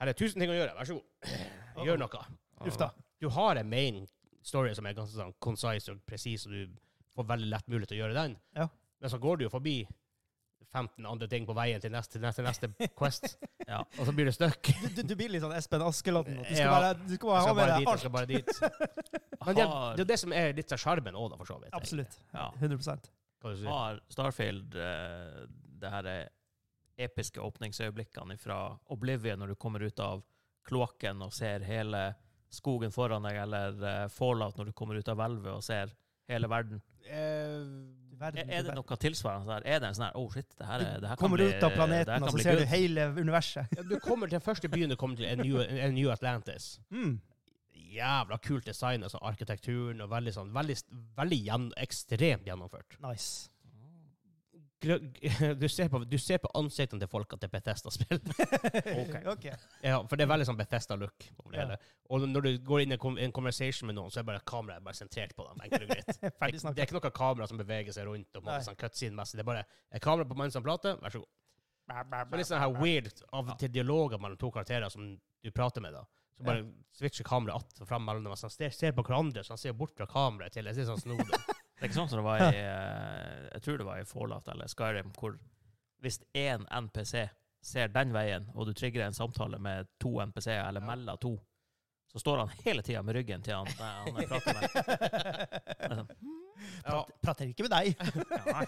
S1: Her er tusen ting å gjøre, vær så god. Gjør noe.
S2: Uff da.
S1: Du har en main story som er ganske sånn concise og presis, og du får veldig lett mulighet til å gjøre den.
S2: Ja.
S1: Men så går du jo forbi 15 andre ting på veien til neste, til neste, neste quest,
S3: Ja.
S1: og så blir du stuck.
S2: Du, du, du blir litt sånn Espen Askeladden. at Du skal
S1: Ja.
S2: bare, du skal bare
S1: Jeg
S2: ha
S1: skal bare dit,
S2: med deg
S1: jeg
S2: alt.
S1: skal bare dit. Men det,
S3: Har-
S1: det er det som er litt av sjarmen òg, for så vidt. egentlig.
S2: Absolutt.
S3: ja.
S2: 100
S1: Hva du sier.
S3: Har Starfield eh, det her eh, episke åpningsøyeblikkene fra Oblivion når du kommer ut av kloakken og ser hele skogen foran deg, eller eh, Fallout når du kommer ut av hvelvet og ser hele verden?
S1: Eh,
S3: Er, er det noe tilsvarende der? Er det en sånn her Oh shit, det her, er- det her kan
S2: Kommer
S3: bli
S2: ut av
S3: det her
S2: planeten,
S3: kan
S2: og så
S3: bli
S2: ser
S3: good.
S2: du hele universet.
S1: Ja, Du kommer til den første byen du kommer til, er New, er New Atlantis.
S2: Mm.
S1: Jævla kult design, altså arkitekturen, og veldig sånn, veldig, veldig gjenn- ekstremt gjennomført.
S2: Nice.
S1: gr- du ser, på, du ser på ansiktene til folk at det er Bethesda-spill.
S3: Ok.
S2: Ok.
S1: Ja, for det er veldig sånn Bethesda-look. over det
S2: Ja.
S1: hele. Og når du går inn i en kom- en conversation med noen, så er bare kameraet bare sentrert på dem. enkelt og greit. Det,
S2: Ferdig snakka.
S1: det er ikke noe kamera som beveger seg rundt. og på en måte
S2: Nei.
S1: sånn cutscene-messig. Det er bare er kamera på mannen som prater, vær så god. Det er litt sånn her weird av og til dialoger mellom to karakterer som du prater med. da. Så bare switcher kameraet att og fram mellom dem. og sånn, ser- ser på hverandre, så han ser bort fra kameraet til Det er sånn snodig.
S3: Det er ikke sånn som det var i eh, Jeg tror det var i Fallout eller Skyrim, hvor hvis én NPC ser den veien, og du trigger en samtale med to NPC-er, eller
S1: Ja.
S3: melder to, så står han hele tida med ryggen til han, han jeg prater med. Det er sånn,
S1: Ja.
S2: Prater ikke med deg.
S3: ja, nei.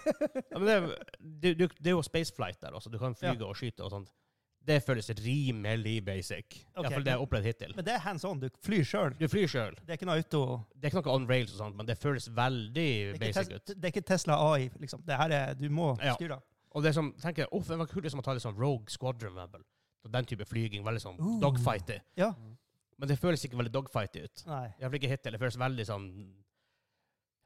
S1: Ja, men det, er- du, du, det er jo spaceflight der også. Du kan flyge og skyte og sånt. Det føles rimelig basic. I
S2: Ok.
S1: hvert fall det jeg har opplevd hittil.
S2: Men det er hands on. Du flyr sjøl.
S1: Du flyr sjøl.
S2: Det er ikke noe auto.
S1: Det er ikke noe on rails og sånt, men det føles veldig
S2: Det er ikke,
S1: basic ut.
S2: tes det er ikke Tesla AI, liksom. Det her er Du må
S1: Ja.
S2: styre.
S1: Og det er som, tenker jeg, uff, det var kult liksom, å ta litt sånn Rogue Squadron Rebel. Så den type flyging, veldig sånn
S2: Uh.
S1: dogfighty.
S2: Ja.
S1: Men det føles ikke veldig dogfighty ut.
S2: Nei.
S1: I hvert fall ikke hittil. Det føles veldig sånn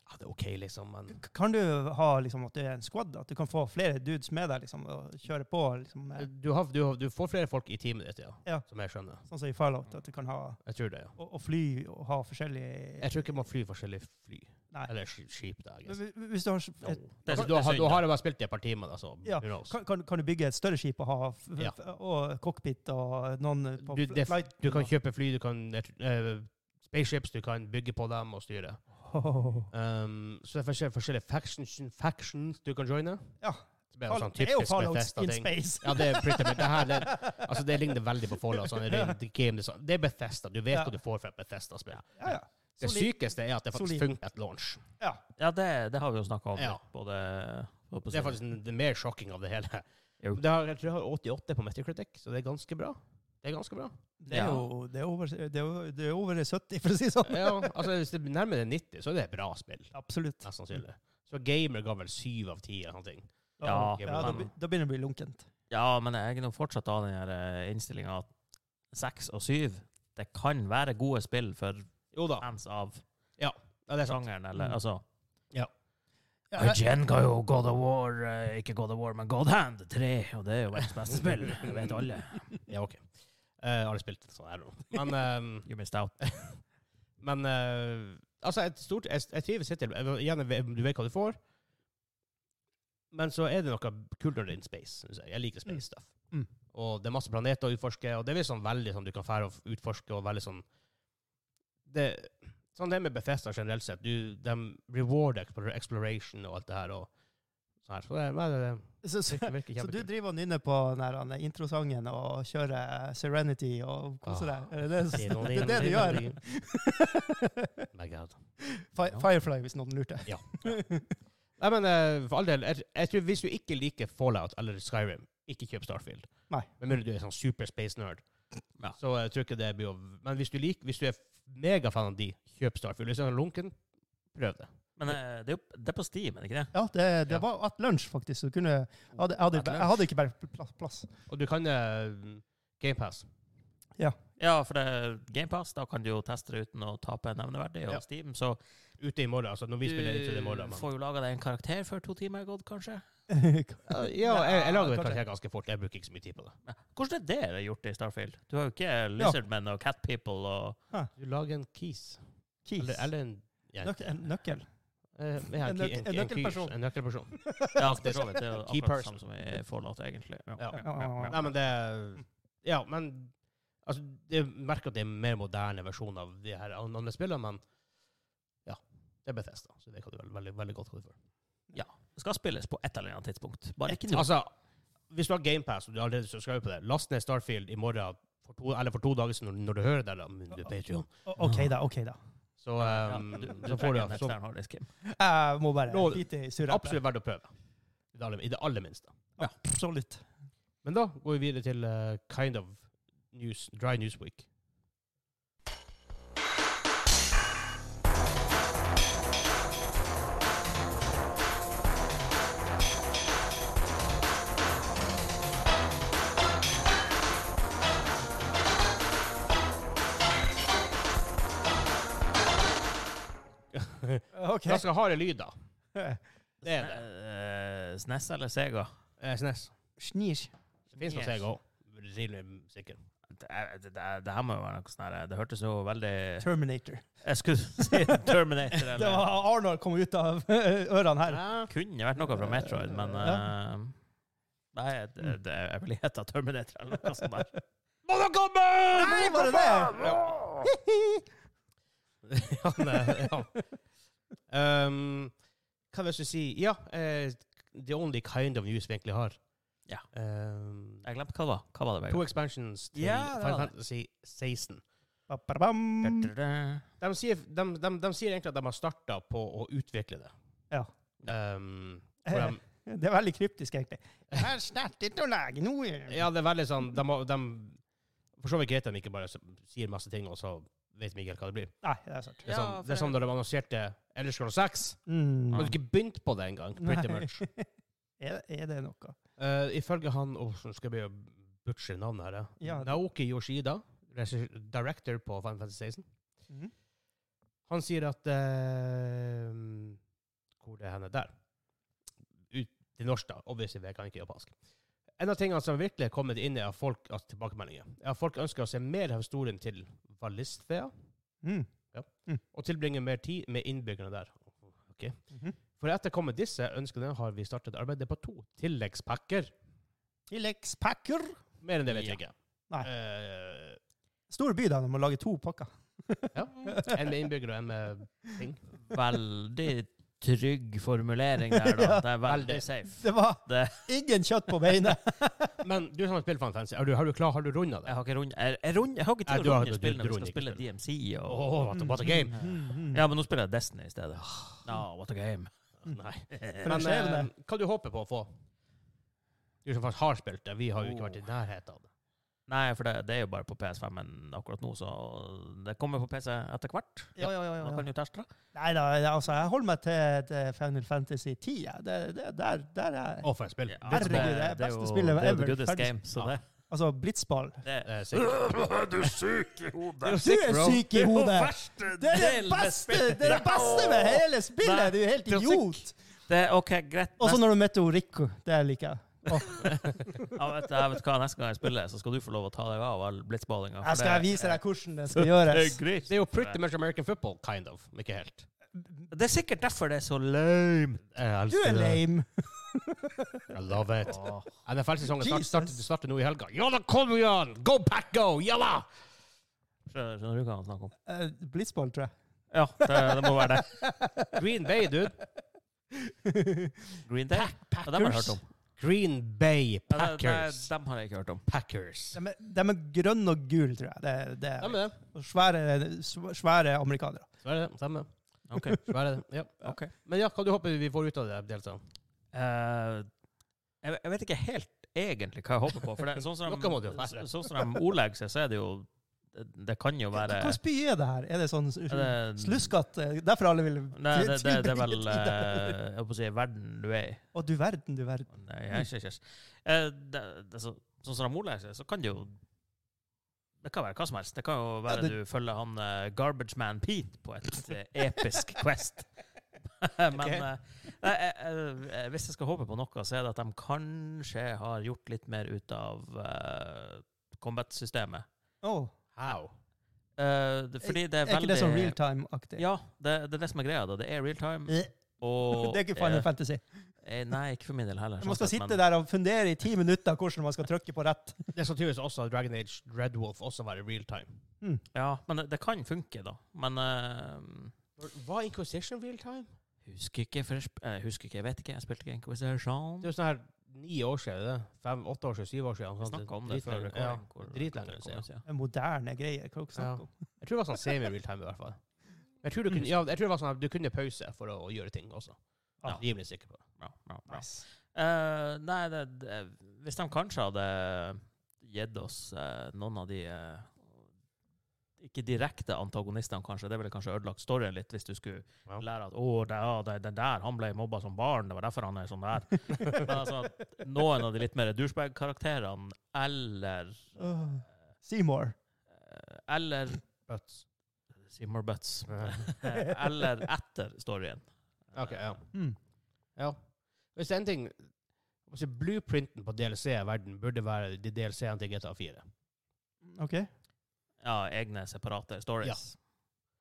S1: Ja, det er OK, liksom, men
S2: K- Kan du ha liksom at du er en squad? At du kan få flere dudes med deg liksom, og kjøre på? liksom, med,
S1: du, har, du, har, du får flere folk i teamet ditt, ja.
S2: Ja.
S1: Som jeg skjønner.
S2: Sånn som i Fallout, at du kan ha
S1: Jeg tror det, ja.
S2: og, og fly og ha forskjellige
S1: Jeg tror ikke man flyr forskjellige fly.
S2: Nei.
S1: Eller sk- skip. Da, jeg
S2: Men
S1: guess.
S2: hvi- hvi- Hvis du har s- et,
S3: Jo, det er-
S1: Altså,
S3: det
S1: du,
S3: er
S1: har,
S3: synd,
S1: du
S3: da.
S1: har jo bare spilt i et par timer, da, så
S2: Ja,
S1: who knows.
S2: kan, kan, kan du bygge et større skip og ha f
S1: Ja.
S2: f og cockpit og noen på
S1: Du,
S2: fl-
S1: det,
S2: flight?
S1: du kan kjøpe fly, du kan eh, Spaceships, du kan bygge på dem og styre.
S2: Åh.
S1: Um, så det er forskjellige, forskjellige factions, factions du kan joine.
S2: Ja.
S1: Det blir jo sånn
S2: det er jo
S1: typisk
S2: Fallout in
S1: Bethesda-ting.
S2: space!
S1: Ja, det er pretty much. Det her, det, altså, det ligner veldig på Fallout. Sånn, ren game design. Det er Bethesda. Du vet
S2: Ja.
S1: hva du får fra et Bethesda-spill.
S2: Ja, ja.
S1: Det
S2: Solid.
S1: sykeste er at det faktisk
S2: Solid.
S1: funker et launch.
S3: Ja, det, det har vi jo snakka om.
S1: Ja.
S3: Både holdt på å
S1: Det er
S3: si.
S1: faktisk en- det er mer sjokking av det hele.
S3: Jo.
S1: Det har, jeg tror jeg har 88 på Metacritic, så det er ganske bra. Det er ganske bra.
S2: Det er
S3: Ja.
S2: jo det er over, det er, jo- det er over 70, for å si det sånn.
S1: Ja, altså Hvis det nærmer seg 90, så er det et bra spill.
S2: Absolutt.
S1: Mest sannsynlig. Så Gamer ga vel 7 av 10 eller noe. sånt.
S3: Ja,
S2: ja da,
S1: men-
S2: be- da begynner det å bli lunkent.
S3: Ja, men jeg er nå fortsatt av den innstillinga at seks og syv det kan være gode spill for
S1: Jo da.
S3: fans av
S1: Ja, det er sant.
S3: sjangeren, eller
S2: Mm.
S3: altså
S2: Ja,
S3: IGN ga jo God of War, eh, ikke God of War, men God Hand 3, og det er jo verdens beste spill. Det vet alle.
S1: Ja, OK. Eh, har du spilt sånn her nå? Men ehm,
S3: You missed out.
S1: Men eh, altså, et stort, jeg, jeg trives hittil. Jeg- Igjen, jeg vet- du vet hva du får. Men så er det noe kulere in space. synes Jeg Jeg liker space
S2: Mm.
S1: stuff.
S2: Mm.
S1: Og det er masse planeter å utforske, og det er liksom veldig sånn du kan fære og f- utforske, og veldig sånn det, Sånn det er med Bethesda generelt sett. Du, de rewarder explor- exploration og alt det her. Og sånn her. Så det, nei, det,
S2: Så,
S1: det
S2: så,
S1: virker, virker
S2: så du
S1: kjempekult.
S2: driver og nynner på den her, han, introsangen og kjører Serenity og koser
S1: Ah.
S2: deg? Er det det, det, er det du gjør?
S1: My God.
S2: Fi-
S1: Ja.
S2: Firefly, hvis noen lurte.
S1: Nei, men eh, for all del, jeg, jeg tror hvis du ikke liker Fallout eller Skyrim, ikke kjøp Starfield.
S2: Nei.
S1: Med mindre du er sånn super space nerd.
S3: Ja.
S1: Så jeg tror ikke det blir å... Men hvis du liker, hvis du er megafan av de, kjøp Starfield. Hvis du er sånn lunken, prøv det.
S3: Men eh, det er jo det er på Steam, er det ikke det?
S2: Ja, det,
S1: Ja.
S2: det var at lunsj, faktisk. Så du kunne, jeg, hadde, jeg, hadde,
S3: At lunsj.
S2: jeg hadde ikke bare pla- plass.
S1: Og du kan uh, GamePass.
S3: Ja, for det er GamePass, da kan du jo teste det uten å tape nevneverdig. Og
S1: Ja.
S3: Steam, så
S1: Ute i morgen, altså når vi spiller ute i morgen. Men.
S3: får jo laga deg en karakter før to timer er gått, kanskje.
S1: Ja, ja, jeg, jeg lager et
S2: Ja, kanskje.
S1: karakter ganske fort. Jeg bruker ikke så mye tid på det.
S3: Ja. Hvordan er det dere gjort i Starfield? Du har jo ikke Lizardmen og Cat People og
S1: Du lager en keys.
S2: Keys.
S1: Eller, eller en... Ja,
S2: Nøk en nøkkel.
S1: eh, ja, en,
S2: en
S1: key-
S2: nøk-
S1: en,
S2: en
S1: en,
S2: nøkkelperson.
S1: keys, en nøkkelperson.
S3: Ja, for så vidt. Det er jo
S1: Key
S3: akkurat det
S1: person.
S3: samme som i Fallout, egentlig. Ja.
S1: Ja.
S2: Ja.
S1: Nei, men det Ja, men altså, Jeg merker at det er en mer moderne versjon av de her an- andre spillene, men ja. Det er Bethesda, så det kan du vel- veldig, veldig godt kalle det for.
S3: Det skal spilles på et eller annet tidspunkt. Bare ikke nå.
S1: Altså, hvis du har GamePass og du allerede subscriber på det, last ned Starfield i morgen for to, eller for to dager siden når, når du hører det, da, men du er Patreon,
S2: O- OK, da. ok da.
S1: så,
S3: Ja,
S1: um,
S3: du, du
S1: så får
S3: trenger en
S1: du så,
S3: ekstern harddisk.
S2: Jeg må bare
S1: Nå-
S2: bite i surrappet.
S1: absolutt verdt å prøve. I det aller, i det aller minste.
S2: Absolutt.
S1: Men da går vi videre til eh, kind of news, dry news week.
S2: OK.
S1: Ganske harde lyder. Det er det.
S3: Eh, SNES eller Sega?
S1: Eh, SNES.
S2: Snir.
S1: Det fins noe
S3: Yes.
S1: Sega òg. Rimelig sikker.
S3: Det, er- det, det, det her må jo være noe sånn her Det hørtes jo veldig
S2: Terminator.
S3: Jeg skulle si Terminator. Eller.
S2: Det var Arnold kom ut av ørene her.
S1: Ja.
S3: Kunne vært noe fra Metroid, men
S2: Ja.
S3: eh, Nei, det, det, jeg vil gjette Terminator eller noe sånt der.
S1: Må dere komme!
S2: Nei, var det det?
S1: ja, nei, ja. Um, hva vil jeg si Ja, eh, the only kind of news vi egentlig har.
S3: Ja.
S1: Um,
S3: Jeg glemte hva det var. Hva var det,
S1: to expansions til
S3: Ja, det var
S1: Final
S3: det.
S1: Fantasy 16.
S2: Ba-ba-bam.
S3: Vegard?
S1: De sier, de, de, de sier egentlig at de har starta på å utvikle det.
S2: Ja.
S1: Um, for de,
S2: Det er veldig kryptisk, egentlig. Jeg har startet å lage noe.
S1: ja, det er veldig sånn De, må- de for så vidt greit at de ikke bare s- sier masse ting, og så vet vi ikke helt hva det blir.
S2: Nei, det er sant.
S1: Det er
S3: Ja,
S1: sånn,
S3: for
S1: det er
S3: det-
S1: sånn da de annonserte Elder Scrolls 6.
S2: Mm.
S1: De hadde ikke begynt på det engang. Pretty
S2: Nei.
S1: much.
S2: Er, er det noe?
S1: Eh, ifølge han Åh, nå skal jeg begynne å butche navnet her. eh.
S2: Ja.
S1: Naoki Yoshida, regi- director på Final Fantasy 16,
S2: Mhm.
S1: han sier at eh, Hvor det er henne der? Ut til norsk, da. Obviously, jeg kan ikke japansk. En av tingene som virkelig er kommet inn, er at folk, altså tilbakemeldinger. er at folk ønsker å se mer av historien til Valisthea,
S2: Mm.
S1: og tilbringe mer tid med innbyggerne der. Ok.
S2: Mhm.
S1: For etter å komme disse ønskene har vi startet arbeidet på to tilleggspakker.
S2: Tilleggspakker.
S1: Mer enn det vet jeg ikke.
S2: Nei.
S1: Eh,
S2: Stor by, da, når man lager to pakker.
S1: ja. En med innbyggere og en med ting.
S3: Veldig trygg formulering der, da. Det er veldig
S1: veldig.
S3: safe.
S2: Det var
S3: Det-
S2: ingen kjøtt på beinet.
S1: Men du som har spilt Final Fantasy, er du, har du klar, har du runda det?
S3: Jeg har ikke rund... Jeg, jeg, rund... jeg har ikke
S1: Nei, du
S3: tid til å
S1: har-
S3: runde
S1: du-
S3: spill
S1: du
S3: når vi
S1: runder
S3: skal
S1: ikke
S3: spille DMC og
S1: Åh, what, a- what a game!
S2: Mm,
S3: Ja, men nå spiller jeg Destiny i stedet. Ja, what a game.
S1: Nei.
S2: Men,
S1: Men eh, hva du håper på å få? Du som faktisk har spilt det, vi har jo ikke vært i nærheten av det.
S3: Nei, for det, det er jo bare på PS5 men akkurat nå, så det kommer på PC etter hvert.
S2: ja, ja, ja, ja.
S3: Man kan jo teste det.
S2: Nei da, altså, jeg holder meg til til Final Fantasy 10. jeg. Det, det, der, der er
S1: Å, for et spill.
S3: Ja,
S2: Herregud, det er
S3: jo-
S2: beste spillet
S3: Det er jo
S2: ever.
S3: the goodest
S2: Ferdig
S3: game, så det,
S2: Altså, blitzball.
S3: det
S1: Eh, sikkert.
S3: Du er syk i hodet!
S1: jo sick, bro.
S2: syk i hodet!
S3: verste
S2: Det er det
S3: delen med
S2: beste,
S3: spillet.
S2: det er det beste med hele spillet! Du er helt
S3: Det er
S2: idiot!
S3: Det er OK, greit.
S2: Og så
S3: Neste,
S2: når du møter Rico. Det liker jeg.
S3: jeg, vet, jeg vet hva, neste gang jeg spiller, så skal du få lov å ta deg av all blitzballinga.
S2: Jeg skal vise deg hvordan det skal gjøres.
S1: Det er jo pretty much American football, kind of. Men ikke helt. Eh,
S3: Det er sikkert derfor det er så
S1: Mm.
S3: lame.
S2: Du er lame.
S1: I love it. NFL-sesongen start,
S2: Jesus.
S1: starter, starter nå i helga. Ja da, kom igjen! Go pack go! Ja da!
S3: Skjønner, skjønner du hva han snakker om?
S2: Eh, Blitzball, tror jeg.
S3: Ja, det, det må være det.
S1: Green Bay, dude.
S3: Green Day. Ja, dem har jeg hørt om.
S1: Green Bay
S3: Ja, det, det,
S1: Packers.
S3: dem har jeg ikke hørt om.
S1: Packers.
S2: De er, de er grønne og gule, tror jeg. Det, det
S1: Stemmer
S2: er.
S1: det.
S2: Og svære, sv- svære amerikanere.
S1: Svære det. Stemmer det.
S3: Ok,
S1: Svære det. Ja.
S3: ok.
S1: Men ja, hva du håper vi får ut av det? Delta?
S3: Eh, jeg, jeg vet ikke helt egentlig hva jeg håper på. For det, sånn som
S1: Noe må det
S3: de,
S1: jo være.
S3: sånn som de ordlegger seg, så er det jo Det, det kan jo være
S2: Hvilken by er det her? Er det sånn
S3: er det-
S2: sluskatt? eh, Derfor alle vil
S3: Nei, det, det, det er vel
S2: tilbringe tid der.
S3: eh, Jeg holdt på å si verden du er i.
S2: Å, du verden, du verden.
S3: Nei, jeg, jeg, jeg, Eh, det, det, er så, sånn som de ordlegger seg, så kan det jo det kan være hva som helst. Det kan jo være
S2: Ja, det-
S3: du følger han eh, Garbage Man Pete på et eh, episk quest. Men
S1: Ok.
S3: eh, nei, eh, eh, hvis jeg skal håpe på noe, så er det at de kanskje har gjort litt mer ut av eh, combat-systemet.
S2: Å,
S1: How?
S3: Eh, det- fordi det er
S2: er ikke
S3: veldig
S2: det sånn real time-aktig?
S3: Ja, det, det er det som er greia. da. Det er real time.
S2: Eh,
S3: Og,
S2: Det er ikke Final
S3: eh,
S2: Fantasy.
S3: eh, Nei, ikke for min del heller.
S2: Man skal
S3: sånn sett,
S2: sitte der og fundere i ti minutter hvordan man skal trykke på rett.
S1: Det skal tydeligvis også Dragon Age Red Wolf også være real time.
S3: Ja, men det, det kan funke, da. Men eh,
S1: Var Inquisition real time?
S3: Mm. Husker ikke, for jeg, sp- eh, husker ikke, jeg vet ikke. Jeg spilte ikke Inquisition.
S1: Det er jo sånn her ni år siden. det. Fem, åtte år siden, syv år siden.
S3: Vi
S1: sånn.
S3: snakket om det
S1: Dritlenge-
S3: før
S1: Ja.
S3: recording. hvor-
S1: dritlenge
S3: hvor det
S1: siden.
S3: kom ut, ja.
S2: En moderne greie. Hva er det dere
S1: Ja.
S2: snakker om?
S1: Jeg tror det var sånn semi-real time i hvert fall. Jeg tror, du kunne, ja, jeg tror det var sånn at du kunne pause for å gjøre ting også. Jeg
S3: Mm. Ja.
S1: er Rimelig sikker på det.
S3: Bra, bra, bra.
S2: Nice.
S3: Eh, nei, det, det, hvis de kanskje hadde gitt oss eh, noen av de eh, ikke direkte antagonistene, kanskje. Det ville kanskje ødelagt storyen litt, hvis du skulle
S1: Ja.
S3: lære at å, det, ja, det, den der, han ble mobba som barn, det var derfor han er sånn der. Men altså, at noen av de litt mer douchebag-karakterene, eller
S2: Åh, Seymour.
S3: eh, Eller
S1: But,
S3: Seymour Butts. eller etter eh, storyen.
S1: ok, ja.
S2: Mm.
S1: Ja. Hvis det er en ting altså Blueprinten på DLC i verden burde være de DLC-ene til GTA 4.
S2: OK.
S3: Ja, egne separate stories.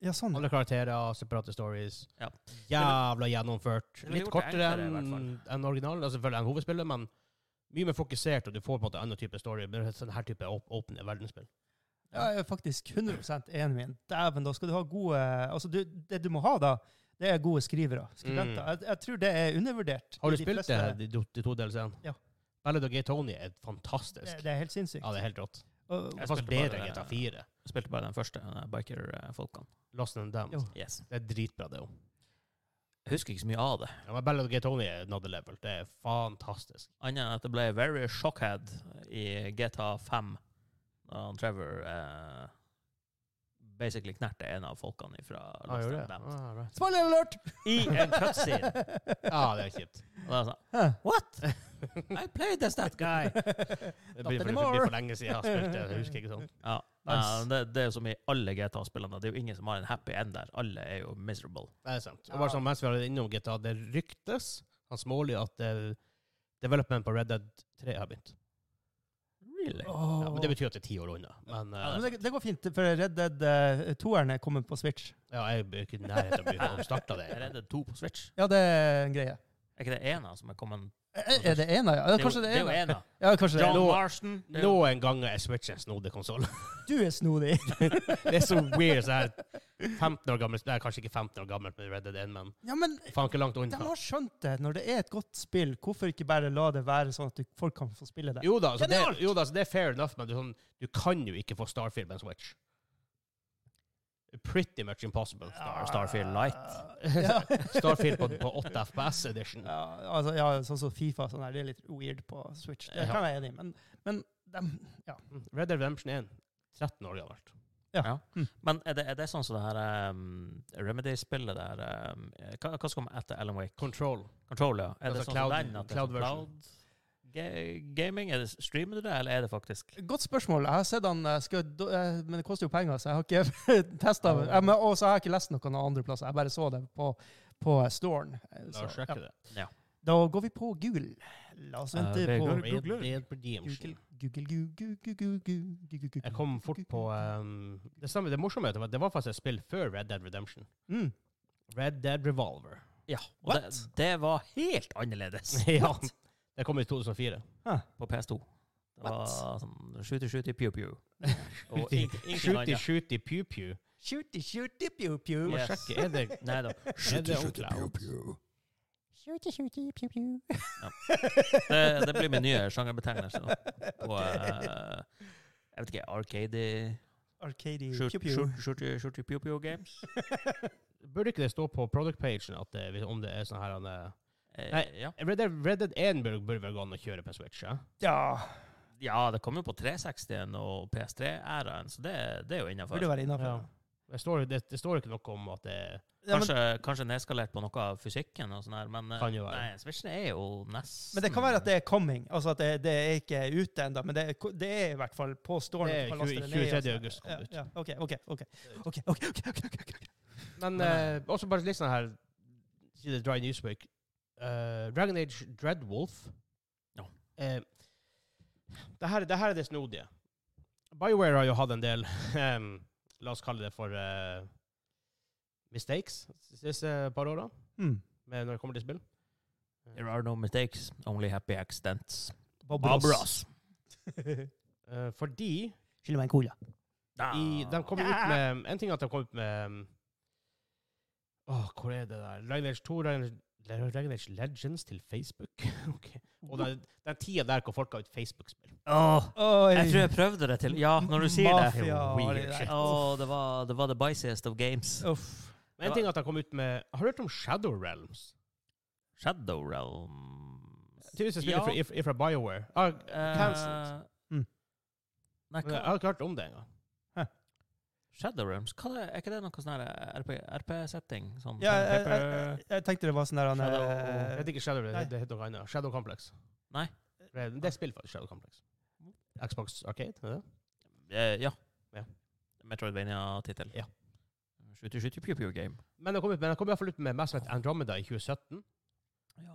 S2: Ja, sånn.
S1: Alle karakterer, separate stories.
S3: Mm. Ja.
S1: Jævla gjennomført.
S3: ville
S1: Litt
S3: gjort det
S1: kortere
S3: enklere, i hvert
S1: enn enn originalen, altså selvfølgelig enn hovedspillet, men mye mer fokusert, og du får på en måte annen type story. Men sånn her type åp- åpne verdensspill.
S2: Ja, jeg er faktisk 100 enig med den. Dæven, da skal du ha gode Altså, du, det du må ha da, det er gode skrivere. Skribenter.
S1: Mm.
S2: Jeg, jeg tror det er undervurdert.
S1: Har
S2: i
S1: du
S2: de
S1: spilt det,
S2: fleste-
S1: de, to- de to DLC-ene?
S2: Ja.
S1: Ballad of Gay Tony er fantastisk.
S2: Det, det er helt sinnssykt.
S1: ja, det er helt rått.
S2: Og-
S1: Det
S3: Jeg
S1: er faktisk
S3: spilte
S1: bedre
S3: bare-
S1: enn GTA 4.
S3: Jeg Spilte bare den første eh, biker-folkene.
S1: Lost and Damned.
S2: Jo.
S3: Yes.
S1: Det er dritbra, det òg.
S3: Jeg husker ikke så mye av det,
S1: Ja, men Ballad of Gay Tony er another level. Det er fantastisk.
S3: annet enn at det ble very shockhead i GTA 5 da han Trevor eh, basically knerte en av folkene fra Lost and Damned.
S1: Ah, right.
S2: Spoiler alert!
S3: I en cutscene!
S1: ja, det er kjipt.
S3: Og da er det sånn,
S2: Hæ?
S3: What? I played as that guy!
S1: Det blir for, det
S2: anymore.
S1: blir for lenge siden jeg har spilt det. Jeg husker ikke sånn.
S3: Ja,
S2: Nice.
S3: ja, det, det er jo som i alle GTA-spillene. Det er jo ingen som har en happy end der. Alle er jo miserable.
S1: Det er sant. Og bare sånn, mens vi har vært innom GTA, det ryktes han smålig at eh, development på Red Dead 3 har begynt.
S3: Really?
S2: Åh.
S1: Ja, men Det betyr at det er ti år unna. Men eh,
S2: Men det, det går fint, for Red Dead eh, 2-eren er kommet på Switch.
S1: ja, jeg er ikke i nærheten av å begynne å starte det.
S3: Er det det to på Switch?
S2: Ja, det er en greie.
S3: Er ikke det ena som er kommet?
S2: Er, er det ena, ja? ja? Kanskje det er
S3: jo- det
S2: ena.
S3: er jo ena.
S2: Ja, kanskje det er
S3: John
S1: Nå-
S3: Marston. det er jo-
S1: Noen ganger er Switch en snodig konsoll.
S2: Du er snodig.
S1: Det er så weird. Så her 15 år gammel, nei, kanskje ikke 15 år gammelt med Red Dead 1, men
S2: Ja, men
S1: faen ikke langt
S2: de
S1: unna.
S2: har skjønt det. Når det er et godt spill, hvorfor ikke bare la det være sånn at du, folk kan få spille det?
S1: Jo da, så det,
S2: Genialt!
S1: jo da, så det er fair enough, men du, sånn, du kan jo ikke få Starfield med en Switch. Pretty much impossible.
S3: Star- Starfield Lite.
S2: Ja.
S1: Starfield på, på 8 FPS edition.
S2: Ja, altså, ja, sånn som Fifa sånn der, det er litt weird på Switch. Det
S1: Ja.
S2: kan jeg være enig i, men, men dem, ja.
S1: Red Dead Redemption 1, 13 år gammelt.
S3: Men er det, er det sånn som det her um, Remedy-spillet der um, hva, hva som kommer etter Alan Wake?
S1: Control.
S3: Control, ja. Er det
S1: Altså
S3: sånn
S1: cloud-
S3: som den? At det er
S1: cloud
S3: sånn
S1: version.
S3: cloud ga- gaming? Er det, streamer du det, eller er det faktisk
S2: Godt spørsmål. Jeg har sett han, eh, skal, do- eh, men det koster jo penger, så jeg har ikke testa det. Ja, men- Og så har jeg ikke lest noe noen andre plasser. Jeg bare så det på, på eh, storen. Eh,
S1: La
S2: Så,
S1: oss sjekke
S2: ja.
S1: det.
S2: Da går vi på Google. La oss
S3: Eh,
S2: vente
S3: det
S2: på
S3: går-
S2: Google.
S1: Red
S3: Google.
S1: Dead Redemption.
S2: Google, Google, Google, Google, Google, Google.
S1: Jeg kom fort på um, Det samme, det morsomme er at det var- det var faktisk et spill før Red Dead Redemption.
S2: mm.
S1: Red Dead Revolver.
S3: Ja. Og
S2: What?
S3: det, det var helt annerledes
S1: ja. Det kom i 2004.
S3: på PS2. Det var
S2: What?
S3: sånn shooty, shooty, pew, pew. Og
S1: Shooty-
S3: ing- ingen
S1: Shooty,
S3: andre.
S1: shooty, pew, pew.
S2: Shooty, shooty, pew, pew.
S1: Må
S3: Yes.
S1: sjekke, er det
S3: Nei da.
S1: er det on cloud?
S2: Shooty, shooty, pew, pew.
S3: Det, det blir min nye sjangerbetegnelse. da. På eh, jeg vet ikke Arcade
S2: Arcady,
S3: shoot-
S2: pew, pew.
S3: shoot- Shooty shooty Pew Pew Games?
S1: Burde ikke det stå på product-pagen at det, hvis- om det er sånn her han, eh,
S3: Eh,
S1: Nei.
S3: Ja.
S1: Red Dead, Red Dead 1 burde burde vel gå an å kjøre på Switch? Ja?
S2: Ja,
S3: ja, det kom jo på 360-en og PS3-æraen, så det, det er jo innafor.
S2: burde være innafor.
S1: Ja. Det, står, det, det står ikke noe om at det
S2: Ja, men,
S3: Kanskje, kanskje nedskalert på noe av fysikken, og sånn her, men eh,
S1: Kan jo være.
S3: Nei, Switchen er jo nesten
S2: men det kan være at det er coming. Altså at det, det er ikke ute ennå, men det er, ko- det er i hvert fall på storen.
S1: Det er
S2: du kan laste
S1: tjue-
S2: det ned i,
S1: 23.
S2: altså.
S1: august kom det ut.
S2: Ja, ja. OK, OK. ok. Ok, ok, ok, ok, ok, ok.
S1: Men
S3: Men,
S1: eh, også bare litt sånn her Siden Dry Newsweek eh, Dragon Age Dreadwolf
S3: Ja.
S1: Eh, det, her, det her er det snodige. BioWare har jo hatt en del em, La oss kalle det for eh, mistakes de siste par åra
S2: Mm.
S1: med når det kommer til spill.
S3: There are no mistakes, only happy accidents.
S2: Bob Ross.
S3: Babras.
S1: Eh, fordi
S2: Skylder meg en cola.
S1: I,
S3: Ah.
S1: de kom jo ut med En ting er at de kom ut med um, Åh, hvor er det der? Dragon Age 2, Dragon Age- Le- Dragon Age Legends til Facebook. ok. Og den, den tida der hvor folk har ut Facebook-spill.
S3: Åh,
S2: Oi.
S3: jeg tror jeg prøvde det til Ja, når du sier det.
S2: Mafia og
S1: Weird
S2: det der.
S1: shit.
S3: Åh, det var, det var the biciest of games.
S2: Uff.
S1: Men en ting er at de kom ut med Har du hørt om Shadow Realms?
S3: Shadow Realm
S1: Tydeligvis et spill fra, if- ifra BioWare. Ah, cancelled.
S3: Eh,
S2: Mm.
S3: Nei,
S1: Men jeg
S3: hva?
S1: har ikke hørt om det engang.
S3: Shadow Realms? Hva er, det- er ikke det noe sånn her RP RP-setting? Sånn
S2: Ja, eh, jeg,
S3: pen
S2: jeg,
S3: paper-
S2: jeg, jeg tenkte det var sånn der han
S3: Shadow-
S2: eh,
S1: Det heter ikke Shadow,
S2: Nei.
S1: det, det heter noe annet. Shadow Complex.
S3: Nei.
S1: Det, det er spill for Shadow Complex. Xbox Arcade? Er det? det?
S3: Eh, ja.
S1: Ja.
S3: Metroidvania-tittel.
S1: Ja.
S3: Shooty, shooty, pew, pew game.
S1: Men de kom, ut, men de kom i hvert fall ut med Mass Effect Andromeda i 2017.